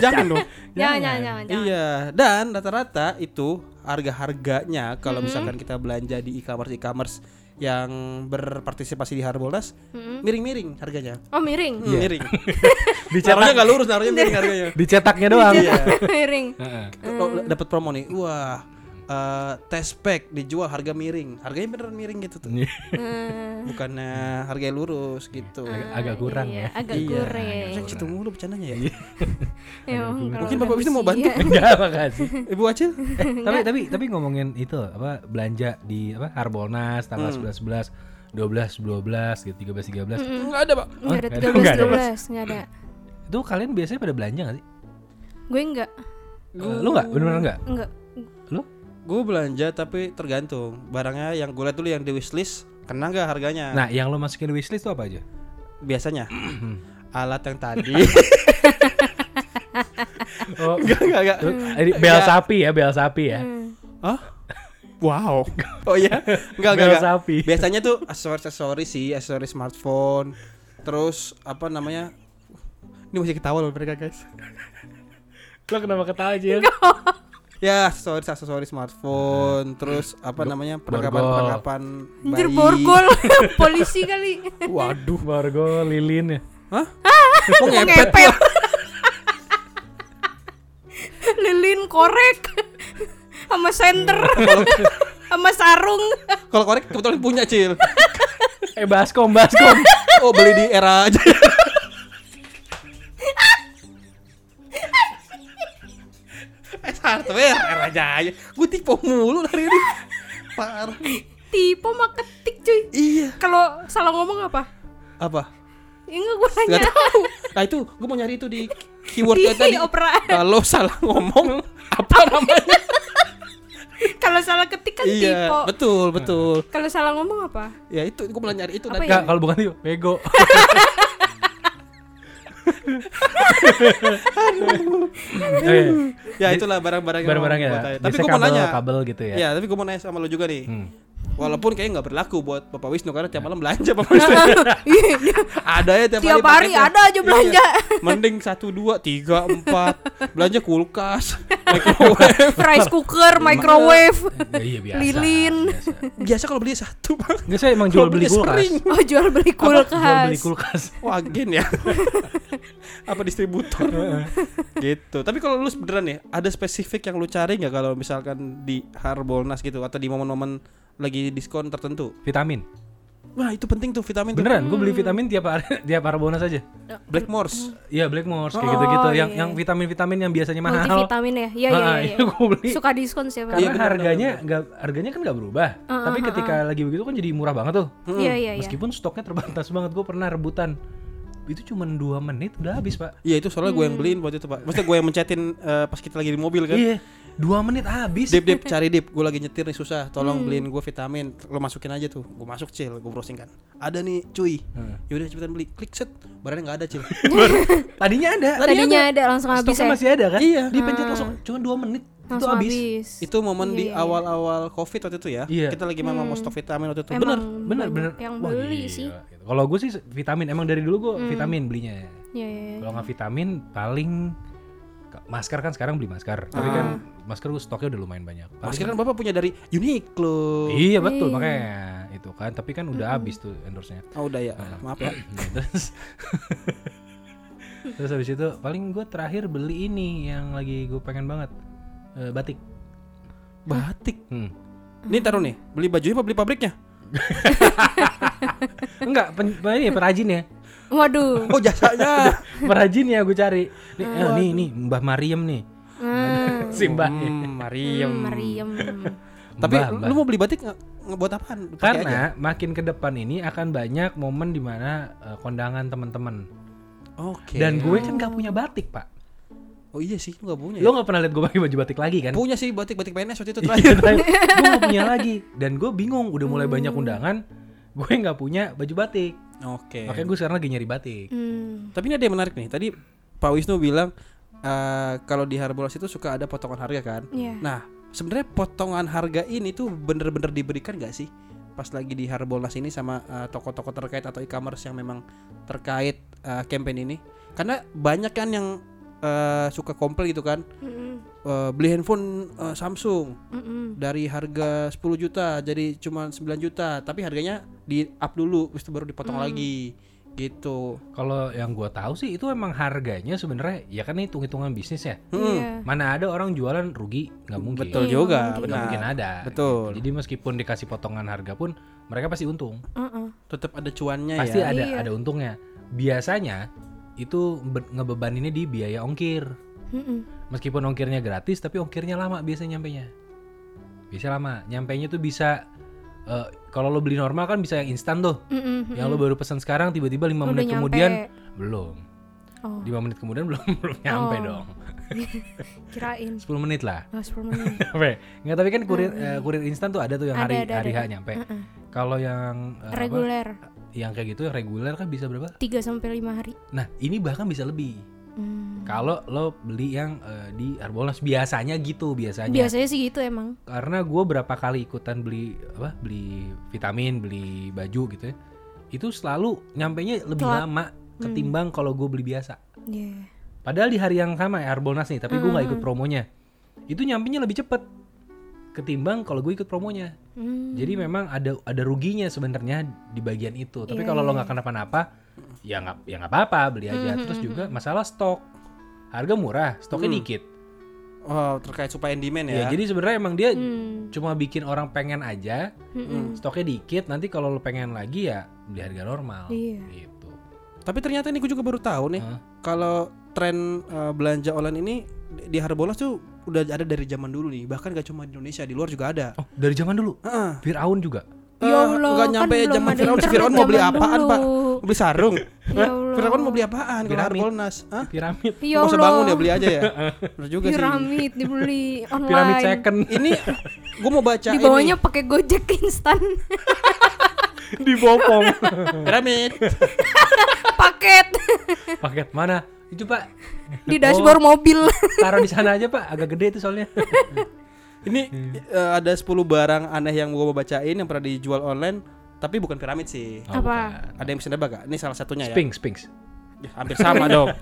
Speaker 3: jangan dong.
Speaker 2: Jangan jangan jangan. jangan.
Speaker 3: Iya, dan rata-rata itu harga-harganya
Speaker 2: Mm-hmm.
Speaker 3: kalau misalkan kita belanja di e-commerce e-commerce yang berpartisipasi di Harbolnas
Speaker 2: Mm-hmm.
Speaker 3: miring-miring harganya.
Speaker 2: Oh, miring.
Speaker 3: Hmm, Miring. naruhnya
Speaker 1: Dicetak,
Speaker 3: nggak lurus, naruhnya miring harganya.
Speaker 1: dicetaknya doang.
Speaker 3: Iya.
Speaker 2: Iya. miring.
Speaker 1: Heeh.
Speaker 2: Mm.
Speaker 3: Lo Dapat promo nih. Wah, eh test pack dijual harga miring. Harganya beneran miring gitu tuh.
Speaker 2: Eh,
Speaker 3: Bukannya harganya lurus gitu.
Speaker 1: Agak kurang
Speaker 2: iya,
Speaker 1: ya.
Speaker 2: Agak
Speaker 3: Iya.
Speaker 2: goreng.
Speaker 3: Saya situ mulu bercandanya ya.
Speaker 2: Emang kalau
Speaker 3: Mungkin
Speaker 2: udah
Speaker 3: Bapak Wisnu mau
Speaker 2: usia.
Speaker 3: bantu. Eh,
Speaker 1: Enggak makasih.
Speaker 3: Ibu Acil?
Speaker 1: Eh, tapi tapi tapi ngomongin itu apa belanja di apa Harbolnas tanggal 11 11 12 12 gitu 13 13.
Speaker 2: Hmm.
Speaker 3: Enggak ada, Pak.
Speaker 1: Nggak ada,
Speaker 2: Enggak ada
Speaker 1: nggak ada,
Speaker 2: 13 12, enggak ada.
Speaker 1: Itu kalian biasanya pada belanja gak sih?
Speaker 2: Gue enggak.
Speaker 1: Eh, Lu enggak? Bener-bener enggak?
Speaker 2: Enggak.
Speaker 1: Lu?
Speaker 3: Gue belanja tapi tergantung barangnya yang gue liat dulu yang di wishlist kena nggak harganya.
Speaker 1: Nah, yang lo masukin di wishlist tuh apa aja?
Speaker 3: biasanya alat yang tadi
Speaker 1: Oh,
Speaker 3: nggak nggak nggak.
Speaker 1: Ini bel sapi ya, bel sapi ya.
Speaker 2: Hmm.
Speaker 3: Hah?
Speaker 4: Wow.
Speaker 3: Oh iya, nggak nggak
Speaker 1: Bel
Speaker 3: nggak.
Speaker 1: sapi.
Speaker 3: Biasanya tuh aksesoris-aksesoris sih, aksesoris smartphone. Terus apa namanya? Ini masih ketawa loh mereka guys.
Speaker 1: Lo kenapa ketawa aja?
Speaker 3: Ya, aksesoris aksesoris smartphone. Terus apa namanya? Perlengkapan perlengkapan
Speaker 2: Anjir borgol polisi kali.
Speaker 1: Waduh, Margo lilin ya.
Speaker 3: Hah?
Speaker 2: Mau ngepet. Lilin korek sama senter sama sarung.
Speaker 3: Kalau korek kebetulan punya cil.
Speaker 1: Eh, baskom, baskom.
Speaker 3: Oh beli di era aja. Eh hardware era aja. Gue tipe mulu dari ini. Parah.
Speaker 2: Tipe mah ketik cuy.
Speaker 3: Iya.
Speaker 2: Kalau salah ngomong apa?
Speaker 3: Apa?
Speaker 2: Ya enggak gue nanya. Iya,
Speaker 3: Gak tahu. Nah itu gue mau nyari itu di keywordnya
Speaker 2: Di
Speaker 3: tadi.
Speaker 2: operaan.
Speaker 3: Kalau salah ngomong
Speaker 2: Kan
Speaker 3: apa namanya?
Speaker 2: Kalau salah ketik kan
Speaker 3: iya.
Speaker 2: tipe.
Speaker 3: Betul betul.
Speaker 2: Kalau salah ngomong apa?
Speaker 3: Ya itu gue mau nyari itu
Speaker 2: Apa ya?
Speaker 3: nanti.
Speaker 1: Enggak, kalau bukan itu bego.
Speaker 3: Ya itulah barang-barang. yang
Speaker 1: Barang-barang
Speaker 3: mau
Speaker 1: ya.
Speaker 3: gua tanya. Tapi
Speaker 1: Biasanya
Speaker 3: gue mau
Speaker 1: kabel,
Speaker 3: nanya.
Speaker 1: kabel gitu ya.
Speaker 3: Iya,
Speaker 1: Hmm.
Speaker 3: Ya tapi gue mau nanya sama lo juga nih. Walaupun kayaknya nggak berlaku buat Bapak Wisnu karena
Speaker 1: Ya.
Speaker 3: tiap malam belanja Bapak Wisnu. ada ya tiap,
Speaker 2: Iya, Tiap hari
Speaker 3: paketnya.
Speaker 2: ada aja belanja.
Speaker 3: Iya. Mending satu dua tiga empat belanja kulkas, microwave.
Speaker 2: Rice cooker, microwave,
Speaker 1: Ya, iya biasa.
Speaker 2: lilin.
Speaker 1: biasa.
Speaker 3: Biasa kalau beli satu bang.
Speaker 1: Enggak saya emang Kan
Speaker 3: Kalau
Speaker 1: jual beli
Speaker 3: beli
Speaker 1: kulkas.
Speaker 3: sering.
Speaker 2: Oh jual beli
Speaker 1: Jual
Speaker 2: kulkas.
Speaker 1: beli kulkas.
Speaker 3: Wah agen ya. Apa distributor? gitu. Tapi kalau lu beneran ya, ada spesifik yang lu cari nggak kalau misalkan di Harbolnas gitu atau di momen-momen lagi diskon tertentu?
Speaker 1: Vitamin.
Speaker 3: Wah itu penting tuh vitamin. tuh.
Speaker 1: Beneran, gue beli vitamin tiap hari tiap harbonas aja.
Speaker 3: Blackmores.
Speaker 1: Iya Blackmores kayak
Speaker 2: Oh,
Speaker 1: gitu-gitu yang
Speaker 2: iya,
Speaker 1: yang vitamin-vitamin yang biasanya mahal.
Speaker 2: Multivitamin ya. Iya iya
Speaker 1: Ah,
Speaker 2: iya.
Speaker 1: itu gue beli.
Speaker 2: Suka diskon sih.
Speaker 1: Karena
Speaker 3: Iya, bener,
Speaker 1: harganya nggak harganya kan nggak berubah.
Speaker 2: Ah,
Speaker 1: Tapi ketika lagi begitu kan jadi murah banget tuh.
Speaker 2: Iya iya iya.
Speaker 1: Meskipun stoknya terbatas banget, gue pernah rebutan. Itu cuma dua menit udah habis pak.
Speaker 3: Iya itu soalnya gue yang beliin waktu itu pak. Maksudnya gue yang mencetin eh, pas kita lagi di mobil kan.
Speaker 1: Iya, dua menit habis.
Speaker 3: Dip dip cari dip, gue lagi nyetir nih susah. Tolong beliin gue vitamin. Lo masukin aja tuh. Gue masuk cil, gue browsing kan. Ada nih cuy. Yaudah cepetan beli. Klik set. Barangnya nggak ada cil.
Speaker 1: Tadinya ada.
Speaker 2: Tadinya ada langsung habis
Speaker 1: Stoknya
Speaker 2: ya. Ah.
Speaker 1: masih ada kan?
Speaker 3: Iya.
Speaker 1: Dipencet langsung cuma dua menit itu
Speaker 2: Langsung
Speaker 1: habis.
Speaker 2: habis.
Speaker 3: itu momen di awal-awal covid waktu itu ya.
Speaker 1: Iya.
Speaker 3: Kita lagi memang mau stok vitamin waktu itu.
Speaker 2: Emang
Speaker 3: Bener.
Speaker 1: Bener bener.
Speaker 2: Yang
Speaker 1: Wah,
Speaker 2: beli
Speaker 1: gila,
Speaker 2: sih. Hmm.
Speaker 1: gitu. Kalau gue sih vitamin emang dari dulu gue vitamin belinya.
Speaker 2: Iya iya. iya.
Speaker 1: Kalau nggak vitamin paling masker kan sekarang beli masker. Tapi
Speaker 2: Ah.
Speaker 1: kan masker gue stoknya udah lumayan banyak. Paling-
Speaker 3: Masker kan bapak punya dari Uniqlo.
Speaker 1: Iya betul makanya itu kan. Tapi kan udah habis tuh endorse-nya.
Speaker 3: Oh udah ya. Maaf ya.
Speaker 1: Nah, terus terus habis itu paling gue terakhir beli ini yang lagi gue pengen banget Eh, batik.
Speaker 3: Batik.
Speaker 1: Hmm.
Speaker 3: Ini taruh nih. Beli bajunya apa beli pabriknya?
Speaker 1: Enggak, pen, ini ya, perajinnya.
Speaker 2: Waduh.
Speaker 3: Oh jasanya.
Speaker 1: Perajinnya gue cari. Nih,
Speaker 3: Ah,
Speaker 1: eh, nih, nih Mbah Mariam nih.
Speaker 2: Hmm,
Speaker 1: Si Mbahnya.
Speaker 3: Hmm,
Speaker 2: hmm,
Speaker 3: Mariam.
Speaker 2: Meriam.
Speaker 3: Tapi
Speaker 1: Mbah, Mbah.
Speaker 3: lu mau beli batik nggak? Ngebuat apaan? Lu pakai aja.
Speaker 1: Karena makin ke depan ini akan banyak momen dimana eh, kondangan teman-teman.
Speaker 3: Oke.
Speaker 1: Dan gue kan gak punya batik pak.
Speaker 3: oh iya sih, lu gak punya.
Speaker 1: Lo gak pernah lihat gue pakai baju batik lagi kan?
Speaker 3: ya? punya sih batik batik PNS waktu itu
Speaker 1: Iya,
Speaker 3: terakhir.
Speaker 1: tapi gue gak punya lagi. Dan gue bingung udah mulai banyak
Speaker 3: Hmm.
Speaker 1: undangan. Gue gak punya baju batik.
Speaker 3: Oke.
Speaker 1: Makanya gue sekarang lagi nyari batik.
Speaker 2: Hmm.
Speaker 3: Tapi ini ada yang menarik nih. Tadi Pak Wisnu bilang eh, kalau di Harbolnas itu suka ada potongan harga kan.
Speaker 2: Iya.
Speaker 3: Nah, sebenarnya potongan harga ini tuh bener-bener diberikan gak sih? Pas lagi di Harbolnas ini sama eh, toko-toko terkait atau e-commerce yang memang terkait eh, campaign ini. Karena banyak kan yang eh, suka komplain gitu kan.
Speaker 2: Mm-mm,
Speaker 3: Eh, beli handphone eh, Samsung
Speaker 2: mm-mm.
Speaker 3: dari harga 10 juta jadi cuma 9 juta tapi harganya di up dulu terus itu baru dipotong
Speaker 2: Hmm.
Speaker 3: lagi gitu
Speaker 1: Kalau yang gue tahu sih itu emang harganya sebenarnya ya kan hitung-hitungan bisnis ya.
Speaker 2: Iya.
Speaker 1: Mana ada orang jualan rugi nggak mungkin.
Speaker 3: Hmm. betul
Speaker 2: Iya,
Speaker 3: juga
Speaker 2: nggak
Speaker 1: Nggak
Speaker 3: benar
Speaker 1: mungkin ada.
Speaker 3: Betul.
Speaker 1: gitu. Jadi meskipun dikasih potongan harga pun mereka pasti untung.
Speaker 2: Uh-uh.
Speaker 3: tetap ada cuannya
Speaker 1: Pasti
Speaker 3: ya
Speaker 1: ada
Speaker 2: Iya.
Speaker 1: ada untungnya. Biasanya itu be- ngebebaninnya di biaya ongkir.
Speaker 2: Mm-mm.
Speaker 1: Meskipun ongkirnya gratis tapi ongkirnya lama biasanya nyampenya. Biasanya lama. Nyampenya tuh bisa eh, kalau lo beli normal kan bisa yang instan tuh.
Speaker 2: Mm-mm,
Speaker 1: Yang lo baru pesan sekarang tiba-tiba 5
Speaker 2: Udah
Speaker 1: menit
Speaker 2: nyampe.
Speaker 1: kemudian belum.
Speaker 2: Oh.
Speaker 1: 5 menit kemudian belum belum nyampe
Speaker 2: Oh.
Speaker 1: dong.
Speaker 2: kirain
Speaker 1: 10 menit lah.
Speaker 2: oh, 10 menit.
Speaker 1: Nyampe. Nggak tapi kan kurir eh, kurir instan tuh ada tuh yang
Speaker 2: Ada,
Speaker 1: hari
Speaker 2: ada,
Speaker 1: hari
Speaker 2: ada. Mm.
Speaker 1: H nyampe. Kalau yang eh, apa,
Speaker 2: reguler
Speaker 1: yang kayak gitu yang reguler kan bisa berapa?
Speaker 2: 3 sampai 5 hari
Speaker 1: Nah, ini bahkan bisa lebih.
Speaker 2: Hmm.
Speaker 1: Kalau lo beli yang eh, di Arbolas biasanya gitu biasanya.
Speaker 2: biasanya sih gitu emang
Speaker 1: Karena gue berapa kali ikutan beli apa? Beli vitamin, beli baju gitu ya. Itu selalu nyampenya lebih
Speaker 2: Telat. Hmm.
Speaker 1: lama ketimbang kalau gue beli biasa.
Speaker 2: Iya.
Speaker 1: Padahal di hari yang sama ya Arbonas nih, tapi gue
Speaker 2: Hmm.
Speaker 1: nggak ikut promonya. Itu nyampinya lebih cepet ketimbang kalau gue ikut promonya.
Speaker 2: Hmm.
Speaker 1: Jadi memang ada ada ruginya sebenarnya di bagian itu.
Speaker 2: Iya,
Speaker 1: Tapi kalau lo nggak kenapa-napa, ya nggak ya nggak apa-apa beli aja.
Speaker 2: Hmm,
Speaker 1: Terus juga masalah stok, harga murah, stoknya dikit.
Speaker 3: oh terkait supply and demand
Speaker 1: Ya,
Speaker 3: ya,
Speaker 1: jadi sebenarnya emang dia
Speaker 2: Hmm.
Speaker 1: cuma bikin orang pengen aja,
Speaker 3: Hmm.
Speaker 2: Mm-mm.
Speaker 1: Hmm, stoknya dikit. Nanti kalau lo pengen lagi ya beli harga normal.
Speaker 2: Iya.
Speaker 1: Gitu.
Speaker 3: tapi ternyata ini gue juga baru tahu nih
Speaker 1: Hah?
Speaker 3: kalau tren eh, belanja online ini di- di Harbolnas tuh udah ada dari zaman dulu nih bahkan gak cuma di Indonesia di luar juga ada
Speaker 1: Oh dari zaman dulu,
Speaker 3: Heeh.
Speaker 1: Fir'aun juga.
Speaker 2: Ya
Speaker 3: Eh,
Speaker 2: Allah,
Speaker 3: nggak nyampe
Speaker 2: kan belum
Speaker 3: zaman
Speaker 2: ada
Speaker 3: Firaun.
Speaker 2: internet
Speaker 3: Firaun mau beli
Speaker 2: zaman
Speaker 3: apaan,
Speaker 2: dulu.
Speaker 3: Pak?
Speaker 2: Oh.
Speaker 3: Mau beli sarung
Speaker 2: Ya Allah.
Speaker 3: Firaun mau beli apaan kalau
Speaker 1: Piramid.
Speaker 3: Harbolnas Hah?
Speaker 1: Piramid.
Speaker 2: ya
Speaker 3: Gak usah
Speaker 2: Allah. Iya,
Speaker 3: bangun ya beli aja ya Bener juga sih
Speaker 2: piramid dibeli online
Speaker 1: Piramid second
Speaker 3: Ini gue mau baca
Speaker 2: di bawahnya pakai gojek instan
Speaker 1: dibopong.
Speaker 3: ini Piramid
Speaker 2: paket
Speaker 1: Paket mana? Itu pak Oh.
Speaker 2: di dashboard mobil
Speaker 1: taruh di sana aja pak, agak gede itu soalnya.
Speaker 3: Ini eh, ada 10 barang aneh yang gua mau bacain yang pernah dijual online tapi bukan piramid sih.
Speaker 1: Oh,
Speaker 2: Apa?
Speaker 1: bukan.
Speaker 3: Ada yang bisa nebak gak? Ini salah satunya ya.
Speaker 1: Sphinx, Sphinx.
Speaker 3: Ya, hampir sama dong.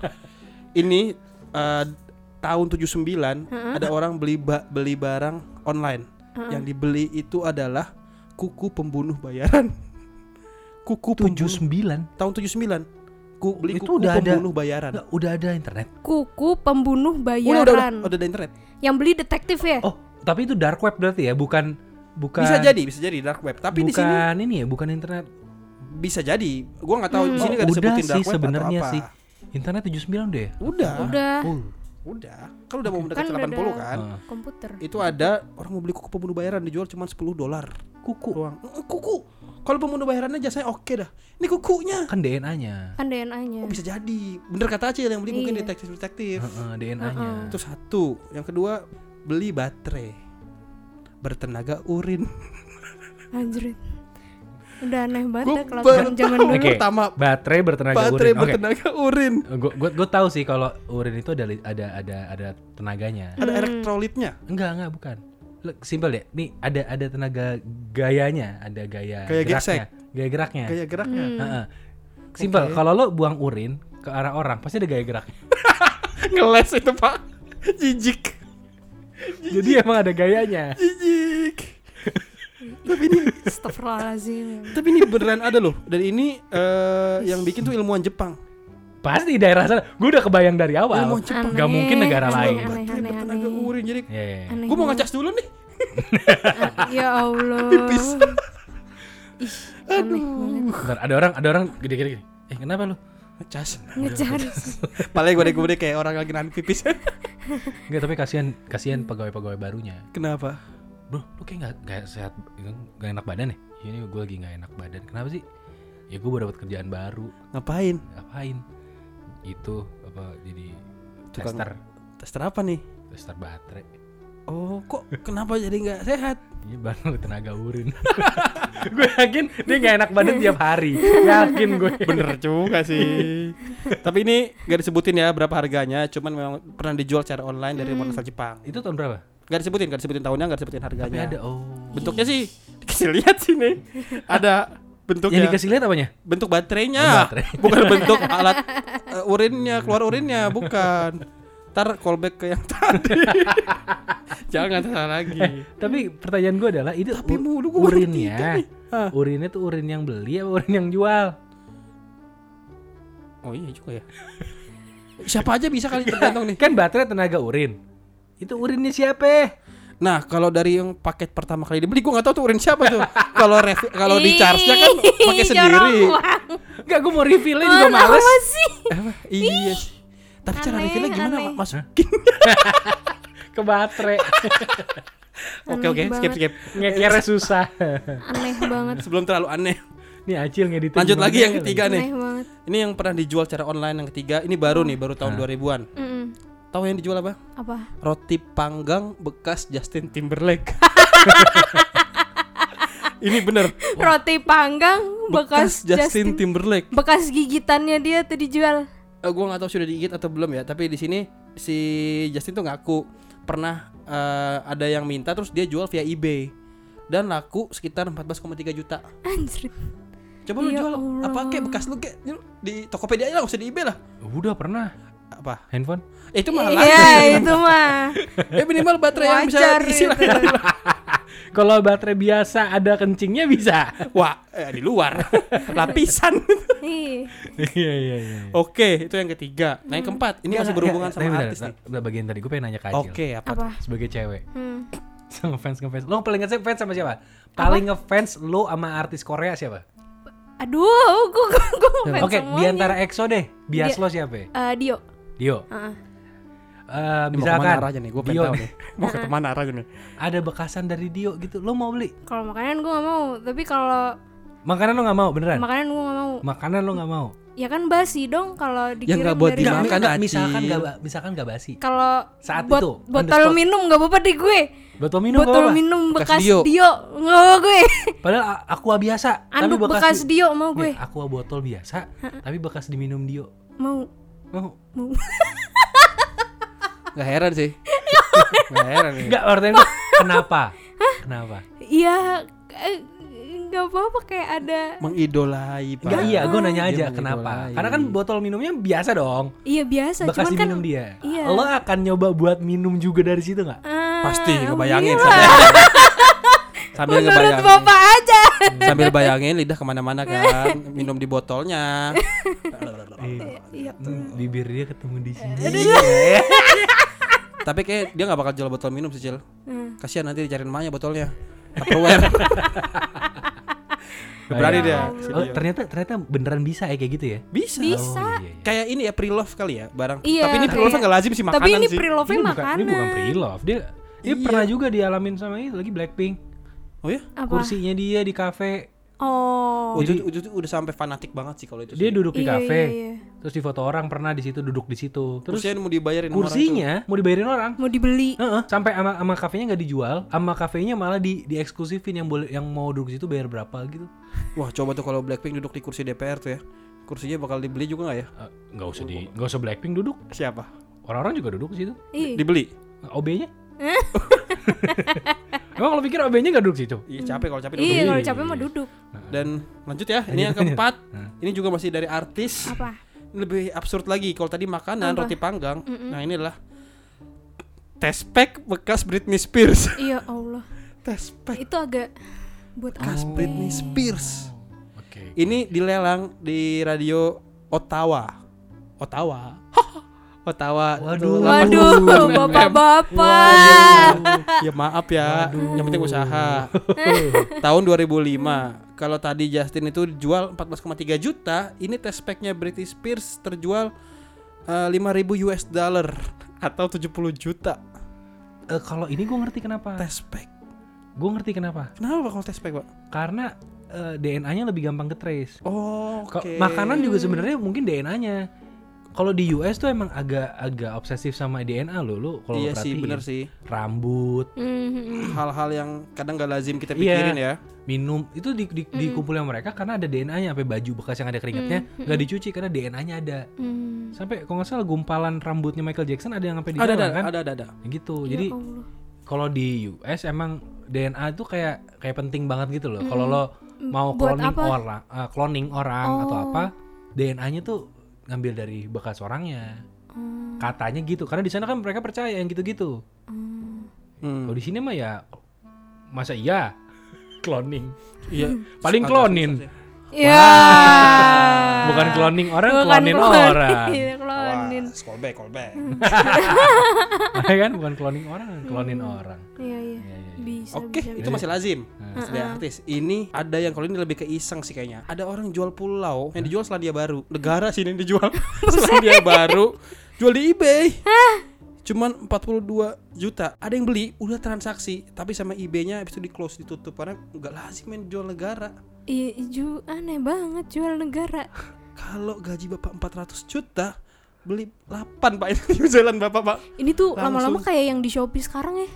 Speaker 3: Ini eh, tahun 79 ada orang beli ba- beli barang online. Yang dibeli itu adalah kuku pembunuh bayaran. Kuku pembunuh
Speaker 1: 79.
Speaker 3: tahun 79. Ku beli
Speaker 1: Itu
Speaker 3: kuku
Speaker 1: udah ada.
Speaker 3: pembunuh bayaran.
Speaker 1: Lah, udah ada internet.
Speaker 2: Kuku pembunuh
Speaker 3: Udah,
Speaker 2: bayaran.
Speaker 3: udah, udah, udah ada internet.
Speaker 2: Yang beli detektif ya?
Speaker 1: Oh, tapi itu dark web berarti ya, bukan bukan
Speaker 3: Bisa jadi, bisa jadi dark web. Tapi di sini
Speaker 1: bukan ini ya, bukan internet.
Speaker 3: bisa jadi. Gua nggak tahu di sini
Speaker 1: Oh,
Speaker 3: nggak
Speaker 1: udah
Speaker 3: disebutin
Speaker 1: sih
Speaker 3: dark web
Speaker 1: sebenarnya
Speaker 3: atau apa.
Speaker 1: sih. Internet 79 deh.
Speaker 3: Udah,
Speaker 2: Udah.
Speaker 1: Oh,
Speaker 3: udah. Kan udah mau mendekati
Speaker 2: Kan udah
Speaker 3: 80
Speaker 2: ada.
Speaker 3: kan.
Speaker 2: Komputer.
Speaker 3: Itu ada orang mau beli kuku pembunuh bayaran dijual cuma 10 dolar.
Speaker 1: kuku
Speaker 3: Doang. Eh, Kuku. Kalau pembunuh bayarannya jasanya oke dah. Ini kukunya.
Speaker 1: kan DNA-nya.
Speaker 2: Kan DNA-nya.
Speaker 3: Oh, bisa jadi. Bener kata Acil yang beli mungkin
Speaker 2: Iya.
Speaker 3: detektif-detektif.
Speaker 1: Heeh, DNA-nya.
Speaker 3: Itu satu. Yang kedua, beli baterai bertenaga urin.
Speaker 2: Anjrit. Udah aneh
Speaker 3: Gua
Speaker 2: banget dah Kan kalau
Speaker 3: baru
Speaker 2: zaman
Speaker 3: tahu.
Speaker 2: dulu.
Speaker 1: Oke.
Speaker 3: Pertama,
Speaker 1: Baterai bertenaga
Speaker 3: baterai
Speaker 1: urin. Oke.
Speaker 3: bertenaga urin.
Speaker 1: Gue gue gue tahu sih kalau urin itu ada li- ada ada ada tenaganya.
Speaker 3: Ada
Speaker 2: Hmm.
Speaker 3: elektrolitnya.
Speaker 1: Enggak, enggak bukan. Look, Simple ya. Nih ada ada tenaga gayanya, ada gaya
Speaker 3: Gaya
Speaker 1: geraknya, gaya geraknya.
Speaker 3: Gaya geraknya.
Speaker 2: Hmm.
Speaker 1: Heeh. Simple. Kalau lo buang urin ke arah orang, pasti ada gaya geraknya.
Speaker 3: Ngeles itu, Pak. Jijik.
Speaker 1: Jadi emang ada gayanya.
Speaker 3: Jijik. tapi ini
Speaker 2: Astagfirullahaladzim.
Speaker 3: tapi ini beneran ada loh. Dan ini eh, yang bikin tuh ilmuwan Jepang.
Speaker 1: Pasti daerah sana. Gue udah kebayang dari awal.
Speaker 3: Ilmuwan Jepang.
Speaker 1: Gak mungkin negara
Speaker 2: Aneh,
Speaker 1: lain.
Speaker 2: aneh,
Speaker 3: Baterai
Speaker 2: aneh,
Speaker 3: bertenaga
Speaker 2: aneh.
Speaker 3: urin. Jadi
Speaker 1: Iya, iya, iya.
Speaker 2: Aneh
Speaker 3: gue mau
Speaker 2: banget.
Speaker 3: ngecas dulu nih.
Speaker 2: Ya Allah.
Speaker 3: Pipis.
Speaker 2: Ih, aneh banget.
Speaker 1: Bentar, ada orang ada orang gede-gede. gini. Eh kenapa lu?
Speaker 3: Ngecas.
Speaker 2: Ngejar.
Speaker 3: Paling gue gue kayak orang lagi nahan pipis.
Speaker 1: Enggak tapi kasihan kasihan pegawai-pegawai barunya.
Speaker 3: Kenapa?
Speaker 1: Bro, lu kayak nggak nggak sehat, nggak enak badan ya? Ini gue lagi nggak enak badan. Kenapa sih? Ya gue baru dapat kerjaan baru.
Speaker 3: Ngapain?
Speaker 1: Ngapain? Itu apa? Jadi
Speaker 3: Tukang-
Speaker 1: tester,
Speaker 3: Tester apa nih?
Speaker 1: tester baterai.
Speaker 3: Oh, kok kenapa jadi nggak sehat?
Speaker 1: Ini baru tenaga urin. gue yakin dia nggak enak badan tiap hari. Yakin gue.
Speaker 3: Bener juga sih. Tapi ini gak disebutin ya berapa harganya, cuman memang pernah dijual secara
Speaker 2: Hmm.
Speaker 3: online dari monasal Jepang.
Speaker 1: Itu tahun berapa?
Speaker 3: Gak disebutin, gak disebutin tahunnya, gak disebutin harganya.
Speaker 1: Tapi ada oh.
Speaker 3: Bentuknya sih dikasih lihat sini. Ada
Speaker 1: Yang
Speaker 3: bentuknya.
Speaker 1: dikasih lihat apanya?
Speaker 3: bentuk
Speaker 1: Oh,
Speaker 3: baterainya.
Speaker 1: baterai.
Speaker 3: Bukan bentuk alat eh, urinnya, keluar urinnya, bukan. Ntar callback ke yang tadi. Jangan salah lagi.
Speaker 1: Tapi pertanyaan gue adalah itu
Speaker 3: Tapi
Speaker 1: u-
Speaker 3: mulu gua baru tiga
Speaker 1: urinnya.
Speaker 3: nih. Ah. Hah.
Speaker 1: Urinnya tuh urin yang beli apa urin yang jual?
Speaker 3: Oh iya juga ya. Siapa aja bisa kali tergantung nih.
Speaker 1: Kan baterai tenaga urin. Itu urinnya siapa?
Speaker 3: Nah, kalau dari yang paket pertama kali dibeli gua nggak tahu tuh urin siapa tuh. Kalau rev- kalau di charge-nya kan pakai
Speaker 2: Ih,
Speaker 3: sendiri.
Speaker 2: jorok banget.
Speaker 1: Enggak, gue mau refill-nya juga
Speaker 2: Apaan
Speaker 1: males.
Speaker 2: sih?
Speaker 3: Apa? Iya. sih. Tapi cara
Speaker 2: Aneh,
Speaker 3: refillnya gimana
Speaker 2: aneh.
Speaker 3: Mas?
Speaker 1: Ke baterai.
Speaker 3: Oke oke,
Speaker 2: Aneh
Speaker 3: skip skip.
Speaker 1: Ngekernya susah.
Speaker 2: Aneh banget.
Speaker 3: Sebelum terlalu aneh.
Speaker 1: Nih Acil ngedit.
Speaker 3: Lanjut lagi yang
Speaker 1: kan?
Speaker 3: ketiga nih.
Speaker 2: Aneh banget.
Speaker 3: Ini yang pernah dijual secara online yang ketiga. Ini
Speaker 2: Oh.
Speaker 3: baru nih, baru tahun 2000-an.
Speaker 2: Mm-mm.
Speaker 3: Tahu yang dijual apa?
Speaker 2: Apa?
Speaker 3: Roti panggang bekas Justin Timberlake. ini bener
Speaker 2: Roti panggang bekas,
Speaker 3: bekas Justin Timberlake.
Speaker 2: bekas gigitannya dia tuh dijual.
Speaker 3: Eh, gua nggak tahu sudah digigit atau belum ya tapi di sini si Justin tuh ngaku pernah eh, ada yang minta terus dia jual via eBay dan laku sekitar 14,3 juta
Speaker 2: Anjir.
Speaker 3: coba lu
Speaker 2: Ya
Speaker 3: jual
Speaker 2: Allah.
Speaker 3: apa kek bekas lu kek Lu di Tokopedia aja lah nggak usah di eBay lah
Speaker 1: Udah pernah
Speaker 3: apa
Speaker 1: handphone?
Speaker 3: Eh, itu mahal lagi
Speaker 2: Iya, itu mah.
Speaker 3: eh minimal baterai yang bisa
Speaker 2: Wajar
Speaker 3: diisi lah
Speaker 2: itu.
Speaker 1: Kalau baterai biasa ada kencingnya bisa.
Speaker 3: wah eh, di luar lapisan
Speaker 2: Ih,
Speaker 1: Iya iya iya.
Speaker 3: oke itu yang ketiga nah yang keempat ini masih berhubungan sama artis nih
Speaker 1: bagian tadi gue pengen nanya ke Acil.
Speaker 3: oke apa
Speaker 2: Apa?
Speaker 1: Sebagai cewek
Speaker 2: Hmm.
Speaker 1: sama fans ngefans. Lo paling ngefans sama siapa? Paling ngefans lo sama artis Korea siapa?
Speaker 2: Aduh, gua gua gua ngefans
Speaker 1: Oke,
Speaker 2: semuanya.
Speaker 1: di antara EXO deh. Bias lo siapa? ya?
Speaker 2: Eh, Dio.
Speaker 1: Dio.
Speaker 2: Heeh.
Speaker 1: Eh,
Speaker 3: Ini mau
Speaker 1: misalkan
Speaker 3: kemana arahnya nih gue pengen
Speaker 1: Dio
Speaker 3: tahu nih mau ke mana arahnya nih
Speaker 1: ada bekasan dari Dio gitu. Lo mau beli?
Speaker 2: Kalau makanan gua nggak mau, tapi kalau
Speaker 1: Makanan lo nggak mau beneran?
Speaker 2: makanan gua nggak mau.
Speaker 1: Makanan lo nggak mau?
Speaker 2: Ya kan basi dong
Speaker 1: Ya
Speaker 2: kalau dikirim
Speaker 3: nggak buat
Speaker 2: dari
Speaker 3: dimakan.
Speaker 2: mana.
Speaker 3: Acil.
Speaker 1: misalkan nggak ba- misalkan nggak basi.
Speaker 2: Kalau
Speaker 1: Saat
Speaker 2: bot-
Speaker 1: itu, on the spot.
Speaker 2: botol minum nggak apa-apa di gue.
Speaker 1: Botol minum nggak
Speaker 2: botol
Speaker 1: apa-apa.
Speaker 2: minum
Speaker 3: Bekas
Speaker 2: bekas,
Speaker 3: Dio.
Speaker 2: Dio, nggak apa gue.
Speaker 1: Padahal a- aqua biasa,
Speaker 2: Anduk
Speaker 1: tapi
Speaker 2: Anu, bekas,
Speaker 1: di-
Speaker 2: Dio mau gue.
Speaker 1: Nih, aqua botol biasa, tapi bekas diminum Dio.
Speaker 2: Mau.
Speaker 1: Mau?
Speaker 3: Gak heran sih Gak heran ya. Iya.
Speaker 1: Enggak, artinya gue Kenapa? Kenapa?
Speaker 2: Iya, eh, nggak apa-apa kayak ada.
Speaker 3: Mengidolai Pak.
Speaker 1: Enggak iya, gue nanya
Speaker 3: Dia
Speaker 1: aja kenapa.
Speaker 3: mengidolai.
Speaker 1: Karena kan botol minumnya biasa dong.
Speaker 2: Iya biasa,
Speaker 1: Bekas
Speaker 2: cuman kan.
Speaker 1: diminum dia.
Speaker 2: iya.
Speaker 1: Lo akan nyoba buat minum juga dari situ nggak?
Speaker 2: Ah,
Speaker 3: Pasti ngebayangin
Speaker 2: alhamdulillah.
Speaker 3: sambil sambil
Speaker 2: Menurut
Speaker 3: ngebayangin.
Speaker 2: bapak aja.
Speaker 3: Sambil bayangin lidah kemana mana kan, minum di botolnya.
Speaker 2: Iya.
Speaker 1: Hmm, Bibir dia ketemu di sini.
Speaker 3: Iya. Tapi kayak dia nggak bakal jual botol minum sih, Cil.
Speaker 2: Hmm.
Speaker 3: Kasihan nanti dicariin emaknya botolnya. Tupperware. Nggak Berani dia.
Speaker 1: Oh, ternyata ternyata beneran bisa ya kayak gitu ya?
Speaker 3: Bisa.
Speaker 2: Bisa.
Speaker 1: Oh, iya, iya.
Speaker 3: Kayak ini ya pre-love kali ya barang.
Speaker 2: Iya,
Speaker 3: Tapi ini pre-love
Speaker 2: kayak-
Speaker 3: nggak lazim sih makanan
Speaker 2: Tapi ini
Speaker 3: sih.
Speaker 2: pre-love
Speaker 1: Ini bukan,
Speaker 2: makanan.
Speaker 1: ini bukan pre-love. Dia dia
Speaker 3: Iya.
Speaker 1: pernah juga dialamin sama ini lagi Blackpink.
Speaker 3: oh ya?
Speaker 2: Apa?
Speaker 1: Kursinya dia di kafe.
Speaker 2: Oh.
Speaker 3: Oh, itu, itu- itu udah sampai fanatik banget sih kalau itu.
Speaker 1: Dia
Speaker 3: sih.
Speaker 1: duduk di
Speaker 2: Iya,
Speaker 1: kafe.
Speaker 2: iya, iya.
Speaker 1: Terus di foto orang pernah di situ duduk di situ. Terus
Speaker 3: Kursinya mau dibayarin sama orang tuh.
Speaker 1: kursinya mau dibayarin orang.
Speaker 2: Mau dibeli.
Speaker 1: Heeh, sampai ama ama kafenya nggak dijual, ama kafenya malah di di eksklusifin yang boleh yang mau duduk situ bayar berapa gitu.
Speaker 3: Wah coba tuh kalau Blackpink duduk di kursi DPR tuh ya Kursinya bakal dibeli juga nggak ya?
Speaker 1: Eh, nggak usah di nggak usah Blackpink duduk.
Speaker 3: Siapa?
Speaker 1: Orang-orang juga duduk di situ.
Speaker 2: Ih,
Speaker 3: Iya. Dibeli?
Speaker 1: Nah, OB-nya? Emang lo pikir OB-nya nggak duduk situ?
Speaker 3: Iya capek kalau capek duduk
Speaker 2: Iya, kalau
Speaker 1: Iya,
Speaker 2: capek
Speaker 1: iya,
Speaker 2: mah
Speaker 1: iya.
Speaker 2: duduk.
Speaker 3: Dan lanjut ya Ini yang
Speaker 1: lanjut.
Speaker 3: keempat
Speaker 1: Nah.
Speaker 3: Ini juga masih dari artis
Speaker 2: Apa?
Speaker 3: Ini Lebih absurd lagi Kalau tadi makanan
Speaker 2: Apa?
Speaker 3: roti panggang Nah ini adalah Tespek bekas Britney Spears
Speaker 2: Iya Allah.
Speaker 3: Tespek
Speaker 2: Itu agak buat
Speaker 1: Oh.
Speaker 3: bekas
Speaker 2: apa?
Speaker 3: Britney Spears
Speaker 1: Oke.
Speaker 3: Ini dilelang di radio Ottawa Ottawa Ottawa
Speaker 1: Waduh.
Speaker 2: Waduh, bapak-bapak.
Speaker 3: ya maaf ya yang penting usaha tahun 2005 kalau tadi Justin itu jual 14,3 juta ini test packnya British Spears terjual eh, 5000 US dollar atau 70 juta
Speaker 1: Eh, kalau ini gue ngerti kenapa.
Speaker 3: test pack
Speaker 1: Gue ngerti kenapa.
Speaker 3: kenapa kalau test pack pak
Speaker 1: Karena e, DNA-nya lebih gampang ketrace.
Speaker 3: oh
Speaker 1: Ka-
Speaker 3: oke
Speaker 1: Makanan juga sebenarnya mungkin DNA-nya. Kalau di US tuh emang agak agak obsesif sama DNA lo, lo kalau
Speaker 3: iya sih
Speaker 1: perhatiin.
Speaker 3: bener sih
Speaker 1: Rambut,
Speaker 2: Mhm.
Speaker 3: hal-hal yang kadang nggak lazim kita
Speaker 1: Iya.
Speaker 3: pikirin ya.
Speaker 1: minum itu di, di, dikumpulin sama mereka karena ada DNA-nya sampai baju bekas yang ada keringatnya nggak dicuci karena DNA-nya ada
Speaker 2: Hmm.
Speaker 1: sampai kalau nggak salah gumpalan rambutnya Michael Jackson ada yang sampai di
Speaker 3: ya ada ada
Speaker 1: jalan, kan
Speaker 3: ada ada, ada.
Speaker 1: gitu jadi
Speaker 2: Ya Allah.
Speaker 1: kalau di US emang DNA itu kayak kayak penting banget gitu loh kalau lo mau
Speaker 2: Mm, Buat
Speaker 1: cloning
Speaker 2: apa?
Speaker 1: orang eh, cloning orang atau
Speaker 2: Oh.
Speaker 1: apa DNA-nya tuh ngambil dari bekas orangnya
Speaker 2: Oh.
Speaker 1: katanya gitu karena di sana kan mereka percaya yang gitu-gitu
Speaker 3: Hmm.
Speaker 1: kalau di sini mah ya masa iya cloning
Speaker 3: Iya.
Speaker 1: Paling
Speaker 3: Agak
Speaker 1: klonin.
Speaker 3: susah sih.
Speaker 2: Ya.
Speaker 1: bukan cloning orang
Speaker 2: Ah. Bukan
Speaker 1: clonin orang
Speaker 2: Iya, Klonin.
Speaker 3: Wah, callback, callback.
Speaker 1: Makanya kan bukan cloning orang clonin orang
Speaker 2: Iya, iya. Bisa.
Speaker 3: Oke,
Speaker 2: bisa,
Speaker 3: itu
Speaker 2: bisa.
Speaker 3: masih lazim. Sebagai artis, ini ada yang kalau ini lebih ke iseng sih kayaknya. Ada orang jual pulau yang dijual Selandia Baru. Negara sih ini yang dijual. Selandia Baru jual di eBay. Cuman 42 juta. Ada yang beli, udah transaksi, tapi sama eBay-nya habis itu di close ditutup karena nggak lazim main jual negara.
Speaker 2: Iya, ju aneh banget jual negara.
Speaker 3: Kalau gaji Bapak 400 juta, beli 8 Pak ini New Zealand Bapak, Pak.
Speaker 2: Ini tuh
Speaker 3: Langsung.
Speaker 2: lama-lama kayak yang di Shopee sekarang ya.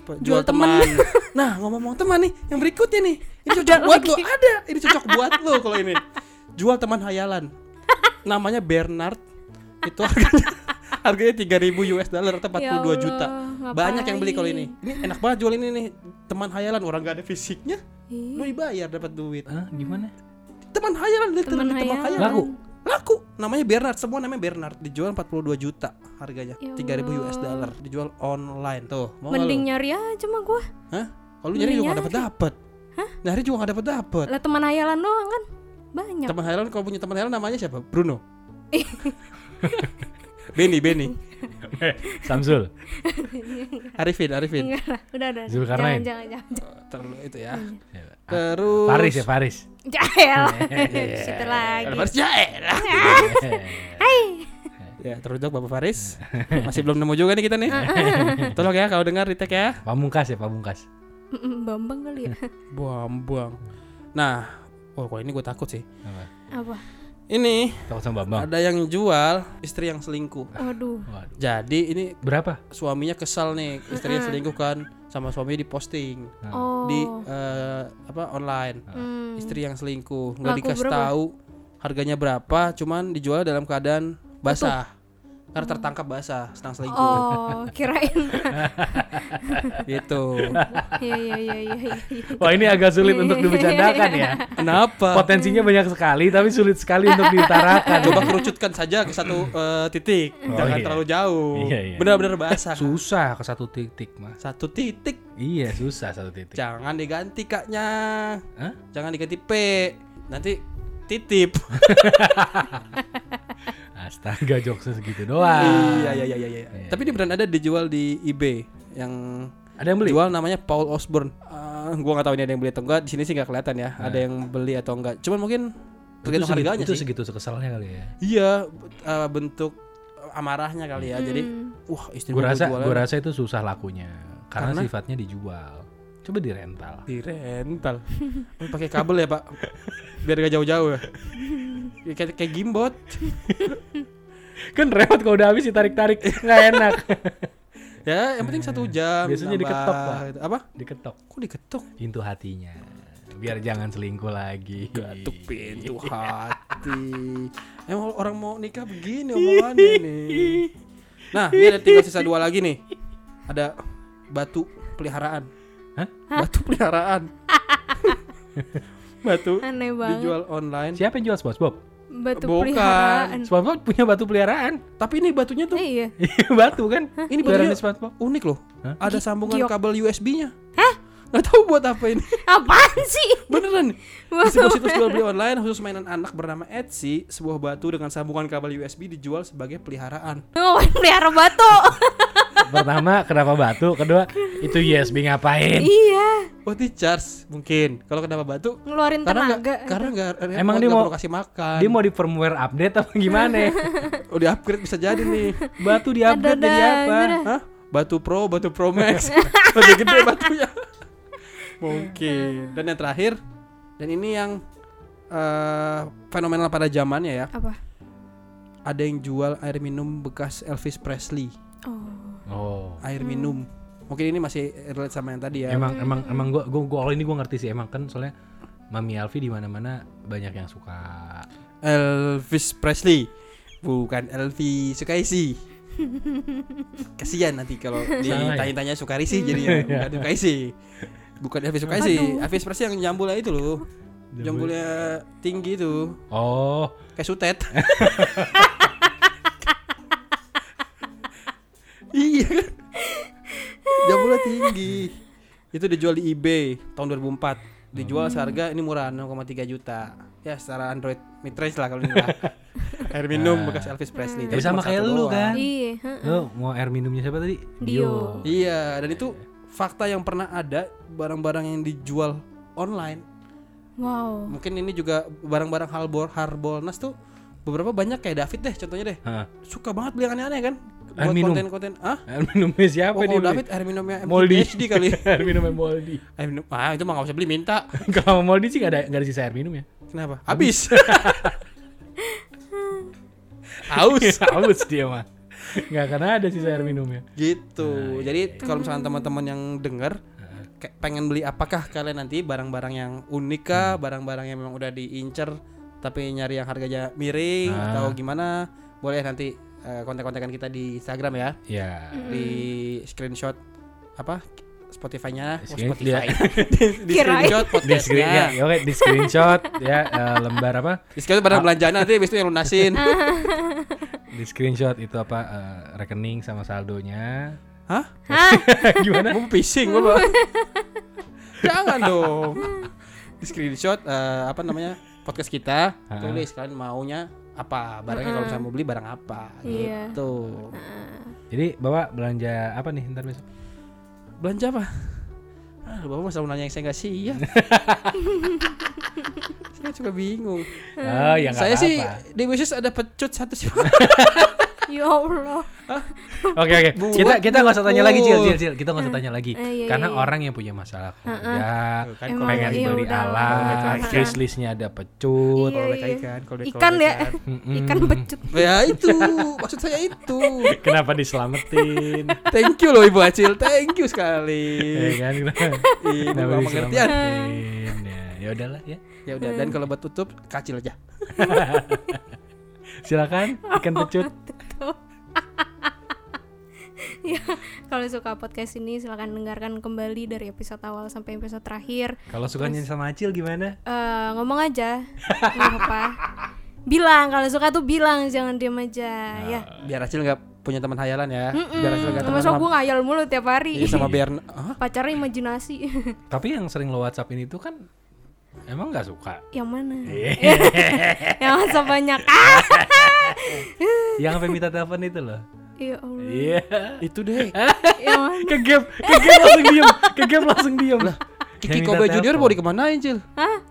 Speaker 3: Apa,
Speaker 2: Jual teman.
Speaker 3: nah, ngomong-ngomong teman nih, yang berikutnya nih. Ini
Speaker 2: Ada
Speaker 3: cocok buat
Speaker 2: lagi.
Speaker 3: lo. Ada. Ini cocok buat lo kalau ini. Jual teman hayalan. Namanya Bernard. Itu harganya harganya 3000 US dollar atau 42
Speaker 2: Ya Allah,
Speaker 3: juta.
Speaker 2: ngapain?
Speaker 3: Banyak yang beli kalau ini. Ini enak banget jual ini nih. Teman hayalan orang gak ada fisiknya. Lu
Speaker 2: Iya.
Speaker 3: dibayar dapat duit.
Speaker 1: Hah, Eh, gimana
Speaker 3: Teman hayalan literally teman
Speaker 2: hayalan.
Speaker 3: hayalan.
Speaker 1: laku
Speaker 3: Laku. Namanya Bernard, semua namanya Bernard. Dijual 42 juta harganya.
Speaker 2: Ya
Speaker 3: 3000
Speaker 2: Allah.
Speaker 3: US dollar. Dijual online. Tuh, mau nggak lu?
Speaker 2: Mending nyari aja mah gua.
Speaker 3: Hah? Kalau lu nyari juga
Speaker 2: Mending
Speaker 3: gak dapet dapet. Hah? Nyari juga gak dapet dapet.
Speaker 2: Lah teman hayalan doang kan. Banyak.
Speaker 3: Teman Helen kalau punya teman Helen namanya siapa? Bruno. Benny, Benny,
Speaker 1: Samsul
Speaker 3: Arifin, Arifin.
Speaker 2: Enggak lah, udah udah.
Speaker 1: Zulkarnain.
Speaker 2: Jangan jangan jangan.
Speaker 3: Terlalu itu ya.
Speaker 1: Ya,
Speaker 3: Terus.
Speaker 1: Paris ya Paris
Speaker 2: Jahel. Situ lagi.
Speaker 3: Paris ya elah.
Speaker 1: Iya.
Speaker 3: Ya, terus dok Bapak Faris. Masih belum nemu juga nih kita nih. Tolong ya kalau dengar retake ya.
Speaker 1: Pamungkas ya Pamungkas
Speaker 2: Mm-mm, Bambang kali ya.
Speaker 3: Buang, buang. Nah, oh kalau ini gue takut sih.
Speaker 1: Apa?
Speaker 2: Apa?
Speaker 3: Ini
Speaker 1: takut sama Bambang
Speaker 3: ada yang jual istri yang selingkuh.
Speaker 2: Waduh.
Speaker 1: Waduh.
Speaker 3: Jadi ini
Speaker 1: berapa
Speaker 3: suaminya kesal nih, istrinya selingkuh kan sama suaminya diposting.
Speaker 2: Oh. Mm.
Speaker 3: di eh, apa online istri yang selingkuh nggak
Speaker 2: Laku
Speaker 3: dikasih
Speaker 2: berapa?
Speaker 3: tahu harganya berapa cuman dijual dalam keadaan basah Ntar tertangkap basah, senang selingkuh.
Speaker 2: Oh, kirain.
Speaker 3: Gitu.
Speaker 2: Iya iya iya iya. iya.
Speaker 1: Wah ini agak sulit untuk dibicarakan ya.
Speaker 3: Kenapa?
Speaker 1: Potensinya banyak sekali, tapi sulit sekali untuk diutarakan.
Speaker 3: Coba kerucutkan saja ke satu eh, titik,
Speaker 1: Oh,
Speaker 3: jangan
Speaker 1: iya.
Speaker 3: terlalu jauh.
Speaker 1: Iya, iya.
Speaker 3: Benar-benar basah.
Speaker 1: Susah ke satu titik mas.
Speaker 3: Satu titik,
Speaker 1: Iya susah satu titik.
Speaker 3: jangan diganti kaknya.
Speaker 1: Hah?
Speaker 3: Jangan diganti P. Nanti titip.
Speaker 1: Astaga jokesnya segitu doang.
Speaker 3: Iya, iya, iya, iya, iya. Tapi ini beneran ada dijual di eBay yang
Speaker 1: Ada yang beli?
Speaker 3: jual namanya Paul Osborne. Eh, gua nggak tahu ini ada yang beli atau enggak. Di sini sih nggak kelihatan ya. Ada yang beli atau enggak. Cuman mungkin
Speaker 1: itu
Speaker 3: tergantung
Speaker 1: segitu,
Speaker 3: harganya
Speaker 1: itu
Speaker 3: sih.
Speaker 1: segitu kesalnya kali ya.
Speaker 3: Iya, b- eh, bentuk eh, amarahnya kali ya. Jadi, wah istri
Speaker 1: Gue
Speaker 3: gua
Speaker 1: rasa
Speaker 3: jualan
Speaker 1: gua rasa itu susah lakunya karena,
Speaker 3: Karena?
Speaker 1: sifatnya dijual. Coba dirental.
Speaker 3: di rental. Oh, Pakai kabel ya pak, biar gak jauh-jauh ya. Ya, Kayak, kayak gimbot.
Speaker 1: Kan repot kalau udah habis ditarik-tarik nggak enak.
Speaker 3: Ya, yang penting satu jam.
Speaker 1: Biasanya diketok, Pak.
Speaker 3: gitu. Apa?
Speaker 1: Diketok
Speaker 3: Kok diketok?
Speaker 1: pintu hatinya biar jangan selingkuh lagi.
Speaker 3: Gatuk pintu hati. Emang orang mau nikah begini omongannya nih. Nah, ini ada tinggal sisa dua lagi nih. Ada batu peliharaan.
Speaker 1: Hah?
Speaker 3: Batu peliharaan. batu
Speaker 2: Aneh banget.
Speaker 3: dijual online.
Speaker 1: Siapa yang jual SpongeBob?
Speaker 2: Batu
Speaker 3: Bukan.
Speaker 2: peliharaan.
Speaker 1: SpongeBob punya batu peliharaan.
Speaker 3: Tapi ini batunya tuh
Speaker 2: Eh, iya.
Speaker 1: Iya, batu kan?
Speaker 3: Ini
Speaker 1: Peliharaan
Speaker 3: batunya
Speaker 1: SpongeBob.
Speaker 3: unik loh.
Speaker 1: Hah?
Speaker 3: Ada sambungan
Speaker 2: giok.
Speaker 3: kabel USB-nya. Hah? Gak tahu buat apa ini.
Speaker 2: Apaan sih?
Speaker 3: Beneran. Di
Speaker 2: Batu
Speaker 3: sebuah situs jual beli online khusus mainan anak bernama Etsy, sebuah batu dengan sambungan kabel USB dijual sebagai peliharaan.
Speaker 2: Ngapain pelihara batu?
Speaker 1: Pertama, kenapa batu? Kedua, itu USB ngapain?
Speaker 2: iya,
Speaker 3: Oh, di charge mungkin. Kalau kenapa batu?
Speaker 2: ngeluarin
Speaker 3: Karena nggak
Speaker 2: tenaga.
Speaker 3: karena nggak
Speaker 1: Emang dia
Speaker 3: nggak
Speaker 1: mau-
Speaker 3: perlu kasih makan.
Speaker 1: Dia mau di firmware update apa gimana? ya?
Speaker 3: oh, di upgrade bisa jadi nih.
Speaker 1: Batu di update jadi
Speaker 2: Dadah,
Speaker 1: apa?
Speaker 2: dadah.
Speaker 3: Hah? Batu Pro, batu Pro Max. Lebih gede batunya. mungkin. Dan yang terakhir dan ini yang eh, fenomenal pada zamannya ya.
Speaker 2: Apa?
Speaker 3: Ada yang jual air minum bekas Elvis Presley.
Speaker 2: Oh.
Speaker 1: Oh.
Speaker 3: Air minum. Mungkin ini masih relate sama yang tadi ya.
Speaker 1: Emang emang emang gua gua, gua kalau ini gua ngerti sih emang kan soalnya Mami Alfi di mana-mana banyak yang suka.
Speaker 3: Elvis Presley bukan Elvi Sukaisi kasihan nanti kalau
Speaker 1: Salah ya? Iya.
Speaker 3: ditanya-tanya Sukarisi jadinya bukan Sukaisi bukan Elvis Sukaisi
Speaker 2: Aduh.
Speaker 3: Elvis Presley yang jambulnya itu loh jambulnya tinggi itu
Speaker 1: Oh,
Speaker 3: kayak sutet iya kan? jambulnya tinggi itu dijual di eBay tahun 2004 dijual seharga ini murah 6,3 juta ya secara Android mid range lah kalau ini lah air minum bekas Elvis Presley
Speaker 1: Tapi sama
Speaker 3: cuma
Speaker 1: kayak
Speaker 3: satu
Speaker 1: lu
Speaker 3: doang.
Speaker 1: kan?
Speaker 2: Iya, heeh.
Speaker 1: Lo mau air minumnya siapa tadi?
Speaker 2: Dio.
Speaker 3: iya dan itu fakta yang pernah ada barang-barang yang dijual online
Speaker 2: Wow.
Speaker 3: mungkin ini juga barang-barang harbor harbolnas tuh beberapa banyak kayak David deh contohnya deh
Speaker 1: Heeh.
Speaker 3: suka banget beli yang aneh-aneh kan
Speaker 1: Air
Speaker 3: buat
Speaker 1: minum.
Speaker 3: konten-konten ah
Speaker 1: Air minumnya siapa
Speaker 3: oh,
Speaker 1: dia?
Speaker 3: kalau David air minumnya
Speaker 1: Moldi.
Speaker 3: MTHD kali ya?
Speaker 1: air minumnya Moldi.
Speaker 3: air minum ah itu mah nggak usah beli minta
Speaker 1: Kalau sama Moldi sih gak ada gak ada sisa air minum ya.
Speaker 3: kenapa habis aus
Speaker 1: Haus dia mah. Gak akan ada sisa air ya? minumnya. Nah, iya,
Speaker 3: gitu jadi kalau misalnya teman-teman yang dengar kayak pengen beli apakah kalian nanti barang-barang yang unik kah
Speaker 1: Hmm.
Speaker 3: barang-barang yang memang udah diincer tapi nyari yang harganya miring
Speaker 1: Ah.
Speaker 3: atau gimana boleh nanti eh, kontak-kontakan kita di Instagram ya
Speaker 1: Ya.
Speaker 3: di screenshot apa Spotify-nya oh,
Speaker 1: Screen-
Speaker 3: Spotify
Speaker 1: dia-
Speaker 3: di, di
Speaker 2: Kirain.
Speaker 3: screenshot
Speaker 1: Di screen ya,
Speaker 3: podcastnya
Speaker 1: oke di screenshot ya eh, lembar apa?
Speaker 3: di screenshot barang belanjaan nanti habis itu yang lunasin
Speaker 2: Ah.
Speaker 1: Di screenshot itu apa eh, rekening sama saldonya.
Speaker 3: hah
Speaker 2: Hah?
Speaker 1: Gimana?
Speaker 3: mau pising gua Bang. jangan dong di screenshot eh, apa namanya podcast kita
Speaker 1: Ah.
Speaker 3: tulis kalian maunya apa barangnya kalau misalnya mau beli barang apa
Speaker 2: Ah. Iya.
Speaker 3: gitu
Speaker 1: Jadi bapak belanja apa nih ntar besok?
Speaker 3: belanja apa Aduh, bapak masa mau nanya yang saya nggak siap saya juga bingung
Speaker 1: Oh, ya nggak
Speaker 3: saya sih
Speaker 1: apa-apa.
Speaker 3: di wishes ada pecut satu sih
Speaker 2: Ya Allah.
Speaker 1: Oke oke.
Speaker 3: Buat
Speaker 1: Kita kita nggak usah tanya lagi Cil Cil Cil. Kita nggak usah tanya lagi.
Speaker 2: Eh, iya,
Speaker 1: Karena
Speaker 2: iya, iya.
Speaker 1: orang yang punya masalah keluarga,
Speaker 3: Tuh kan
Speaker 2: Emang
Speaker 1: pengen
Speaker 2: iya,
Speaker 1: beli
Speaker 2: udah lah, udah
Speaker 1: alat,
Speaker 2: lah.
Speaker 1: wish listnya ada pecut.
Speaker 2: Iya, iya.
Speaker 3: ikan kalau
Speaker 2: Ikan ya.
Speaker 1: Mm-mm.
Speaker 2: Ikan pecut.
Speaker 3: ya itu maksud saya itu
Speaker 1: Kenapa diselamatin?
Speaker 3: thank you loh ibu acil thank you sekali
Speaker 1: ya kan?
Speaker 3: ibu
Speaker 1: Kenapa
Speaker 3: gak pengertian
Speaker 1: diselamatin? Ya, ya udahlah ya.
Speaker 3: ya udah dan kalau buat tutup kacil aja
Speaker 1: Silakan ikan pecut.
Speaker 2: Tuh. Ya, kalau suka podcast ini silahkan dengarkan kembali dari episode awal sampai episode terakhir.
Speaker 1: Kalau sukanya sama Acil gimana?
Speaker 2: Eh, ngomong aja, nggak apa. Bilang kalau suka tuh bilang, jangan diam aja.
Speaker 1: Nah.
Speaker 2: Ya.
Speaker 3: Biar Acil nggak punya teman hayalan ya. Biar Acil nggak
Speaker 2: Mm-mm.
Speaker 3: teman
Speaker 2: Masa
Speaker 3: sama,
Speaker 2: gue ngayal mulu tiap hari.
Speaker 3: iya, sama Berna. Hah?
Speaker 2: Pacarnya imajinasi.
Speaker 1: Tapi yang sering lo WhatsAppin itu kan emang nggak suka.
Speaker 2: yang mana?
Speaker 1: Iya.
Speaker 2: yang masa banyak. Ah,
Speaker 1: yang sampai minta telepon itu loh.
Speaker 2: ya Allah.
Speaker 1: Iya.
Speaker 3: Itu deh.
Speaker 2: Yang mana?
Speaker 1: Ke game, ke game langsung diem, ke game langsung diem. Lah,
Speaker 3: Kiki Kobe Junior mau dikemanain, Cil?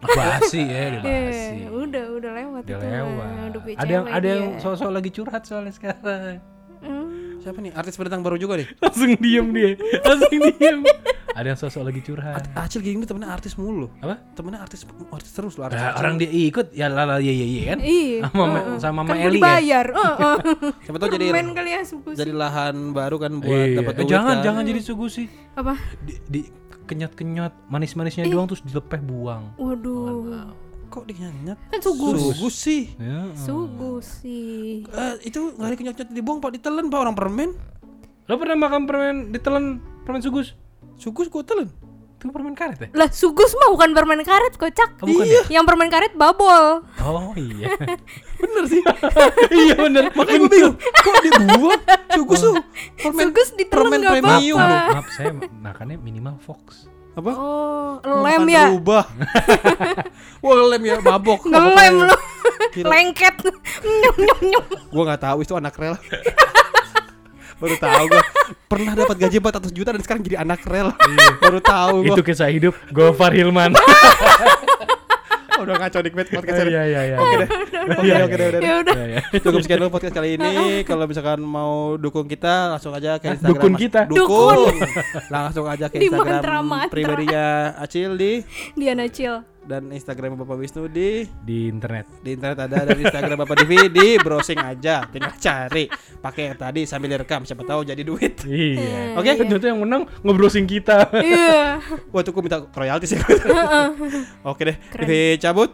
Speaker 1: Basi ya, dia basi.
Speaker 2: Eh, udah, udah lewat
Speaker 1: Udah
Speaker 2: itu mah.
Speaker 1: lewat.
Speaker 2: Udah punya
Speaker 1: Ada yang
Speaker 2: cewek
Speaker 1: ada yang
Speaker 2: dia.
Speaker 1: sosok lagi curhat soalnya sekarang.
Speaker 2: Hmm.
Speaker 3: Siapa nih? Artis pendatang baru juga deh.
Speaker 1: Langsung diem dia, langsung diem. ada yang sosok lagi curhat.
Speaker 3: At- Acil gini temennya artis mulu.
Speaker 1: Apa?
Speaker 3: Temennya artis artis terus loh artis.
Speaker 1: Nah, orang dia ikut ya lala iya iya iya kan?
Speaker 2: Iya.
Speaker 1: Sama Ma-
Speaker 2: heeh.
Speaker 1: sama Ma
Speaker 2: kan
Speaker 1: Eli
Speaker 2: gua
Speaker 1: ya?
Speaker 2: dibayar. heeh.
Speaker 3: Siapa tahu jadi
Speaker 2: Permen kali ya suku
Speaker 3: jadi lahan baru kan buat
Speaker 1: Iya.
Speaker 3: dapat
Speaker 1: Eh,
Speaker 3: duit.
Speaker 1: jangan
Speaker 3: kan.
Speaker 1: jangan jadi sugu sih.
Speaker 2: apa?
Speaker 1: Di, di kenyot-kenyot manis-manisnya doang terus dilepeh buang.
Speaker 2: Waduh.
Speaker 3: Kok dikenyanyat?
Speaker 2: Kan sugus.
Speaker 3: Sugus sih.
Speaker 1: Ya.
Speaker 2: Sugu sih.
Speaker 3: Eh, itu nggak dikenyanyat dibuang pak ditelen pak orang permen.
Speaker 1: Lo pernah makan permen ditelan permen sugus?
Speaker 3: Sugus gua telen.
Speaker 1: Itu permen karet ya?
Speaker 2: Lah sugus mah bukan permen karet kocak.
Speaker 1: Oh, bukan
Speaker 3: Iya.
Speaker 1: ya?
Speaker 2: Yang permen karet babol.
Speaker 1: Oh iya.
Speaker 3: Bener sih.
Speaker 1: iya bener.
Speaker 3: Makanya gue bingung. Kok dibuang? Sugus tuh. Permen
Speaker 2: Sugus ditelan
Speaker 3: permen
Speaker 2: nggak
Speaker 3: premium
Speaker 2: apa-apa.
Speaker 3: loh.
Speaker 1: Maaf saya makannya minimal Fox.
Speaker 3: apa?
Speaker 2: Oh,
Speaker 3: Makan
Speaker 2: lem ya.
Speaker 3: Berubah. Wah lem ya mabok.
Speaker 2: Ngelem lu.
Speaker 3: Gila.
Speaker 2: Lengket. Nyum nyum nyum.
Speaker 3: Gue nggak tahu itu anak rel. Baru tahu gue pernah dapat gaji 400 juta dan sekarang jadi anak rel. Baru tahu gue.
Speaker 1: Itu kisah hidup Gofar Hilman.
Speaker 3: udah ngaco dikit podcast ini.
Speaker 1: Iya iya iya.
Speaker 3: Oke deh. Oke oke deh. udah deh.
Speaker 2: Ya udah.
Speaker 1: Iya, iya.
Speaker 3: Cukup sekian dulu podcast kali ini. Kalau misalkan mau dukung kita langsung aja ke Instagram.
Speaker 1: dukun
Speaker 3: Mas-
Speaker 1: kita?
Speaker 3: Dukun. langsung aja ke
Speaker 2: Di
Speaker 3: Instagram
Speaker 2: mantra-mantra.
Speaker 3: pribadinya Acil di
Speaker 2: Diana chill.
Speaker 3: dan Instagram Bapak Wisnu di
Speaker 1: Di internet.
Speaker 3: di internet ada dan Instagram Bapak Divi di browsing aja tinggal cari pakai yang tadi sambil direkam siapa tahu jadi duit
Speaker 1: Iya.
Speaker 3: Oke.
Speaker 1: Ternyata yang menang ngebrowsing kita.
Speaker 2: Iya.
Speaker 3: wah tuh gua minta royalti sih oke deh
Speaker 2: Keren.
Speaker 3: Divi cabut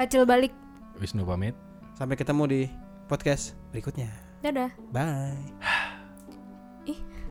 Speaker 2: Acil balik.
Speaker 1: Wisnu pamit.
Speaker 3: sampai ketemu di podcast berikutnya
Speaker 2: Dadah.
Speaker 3: bye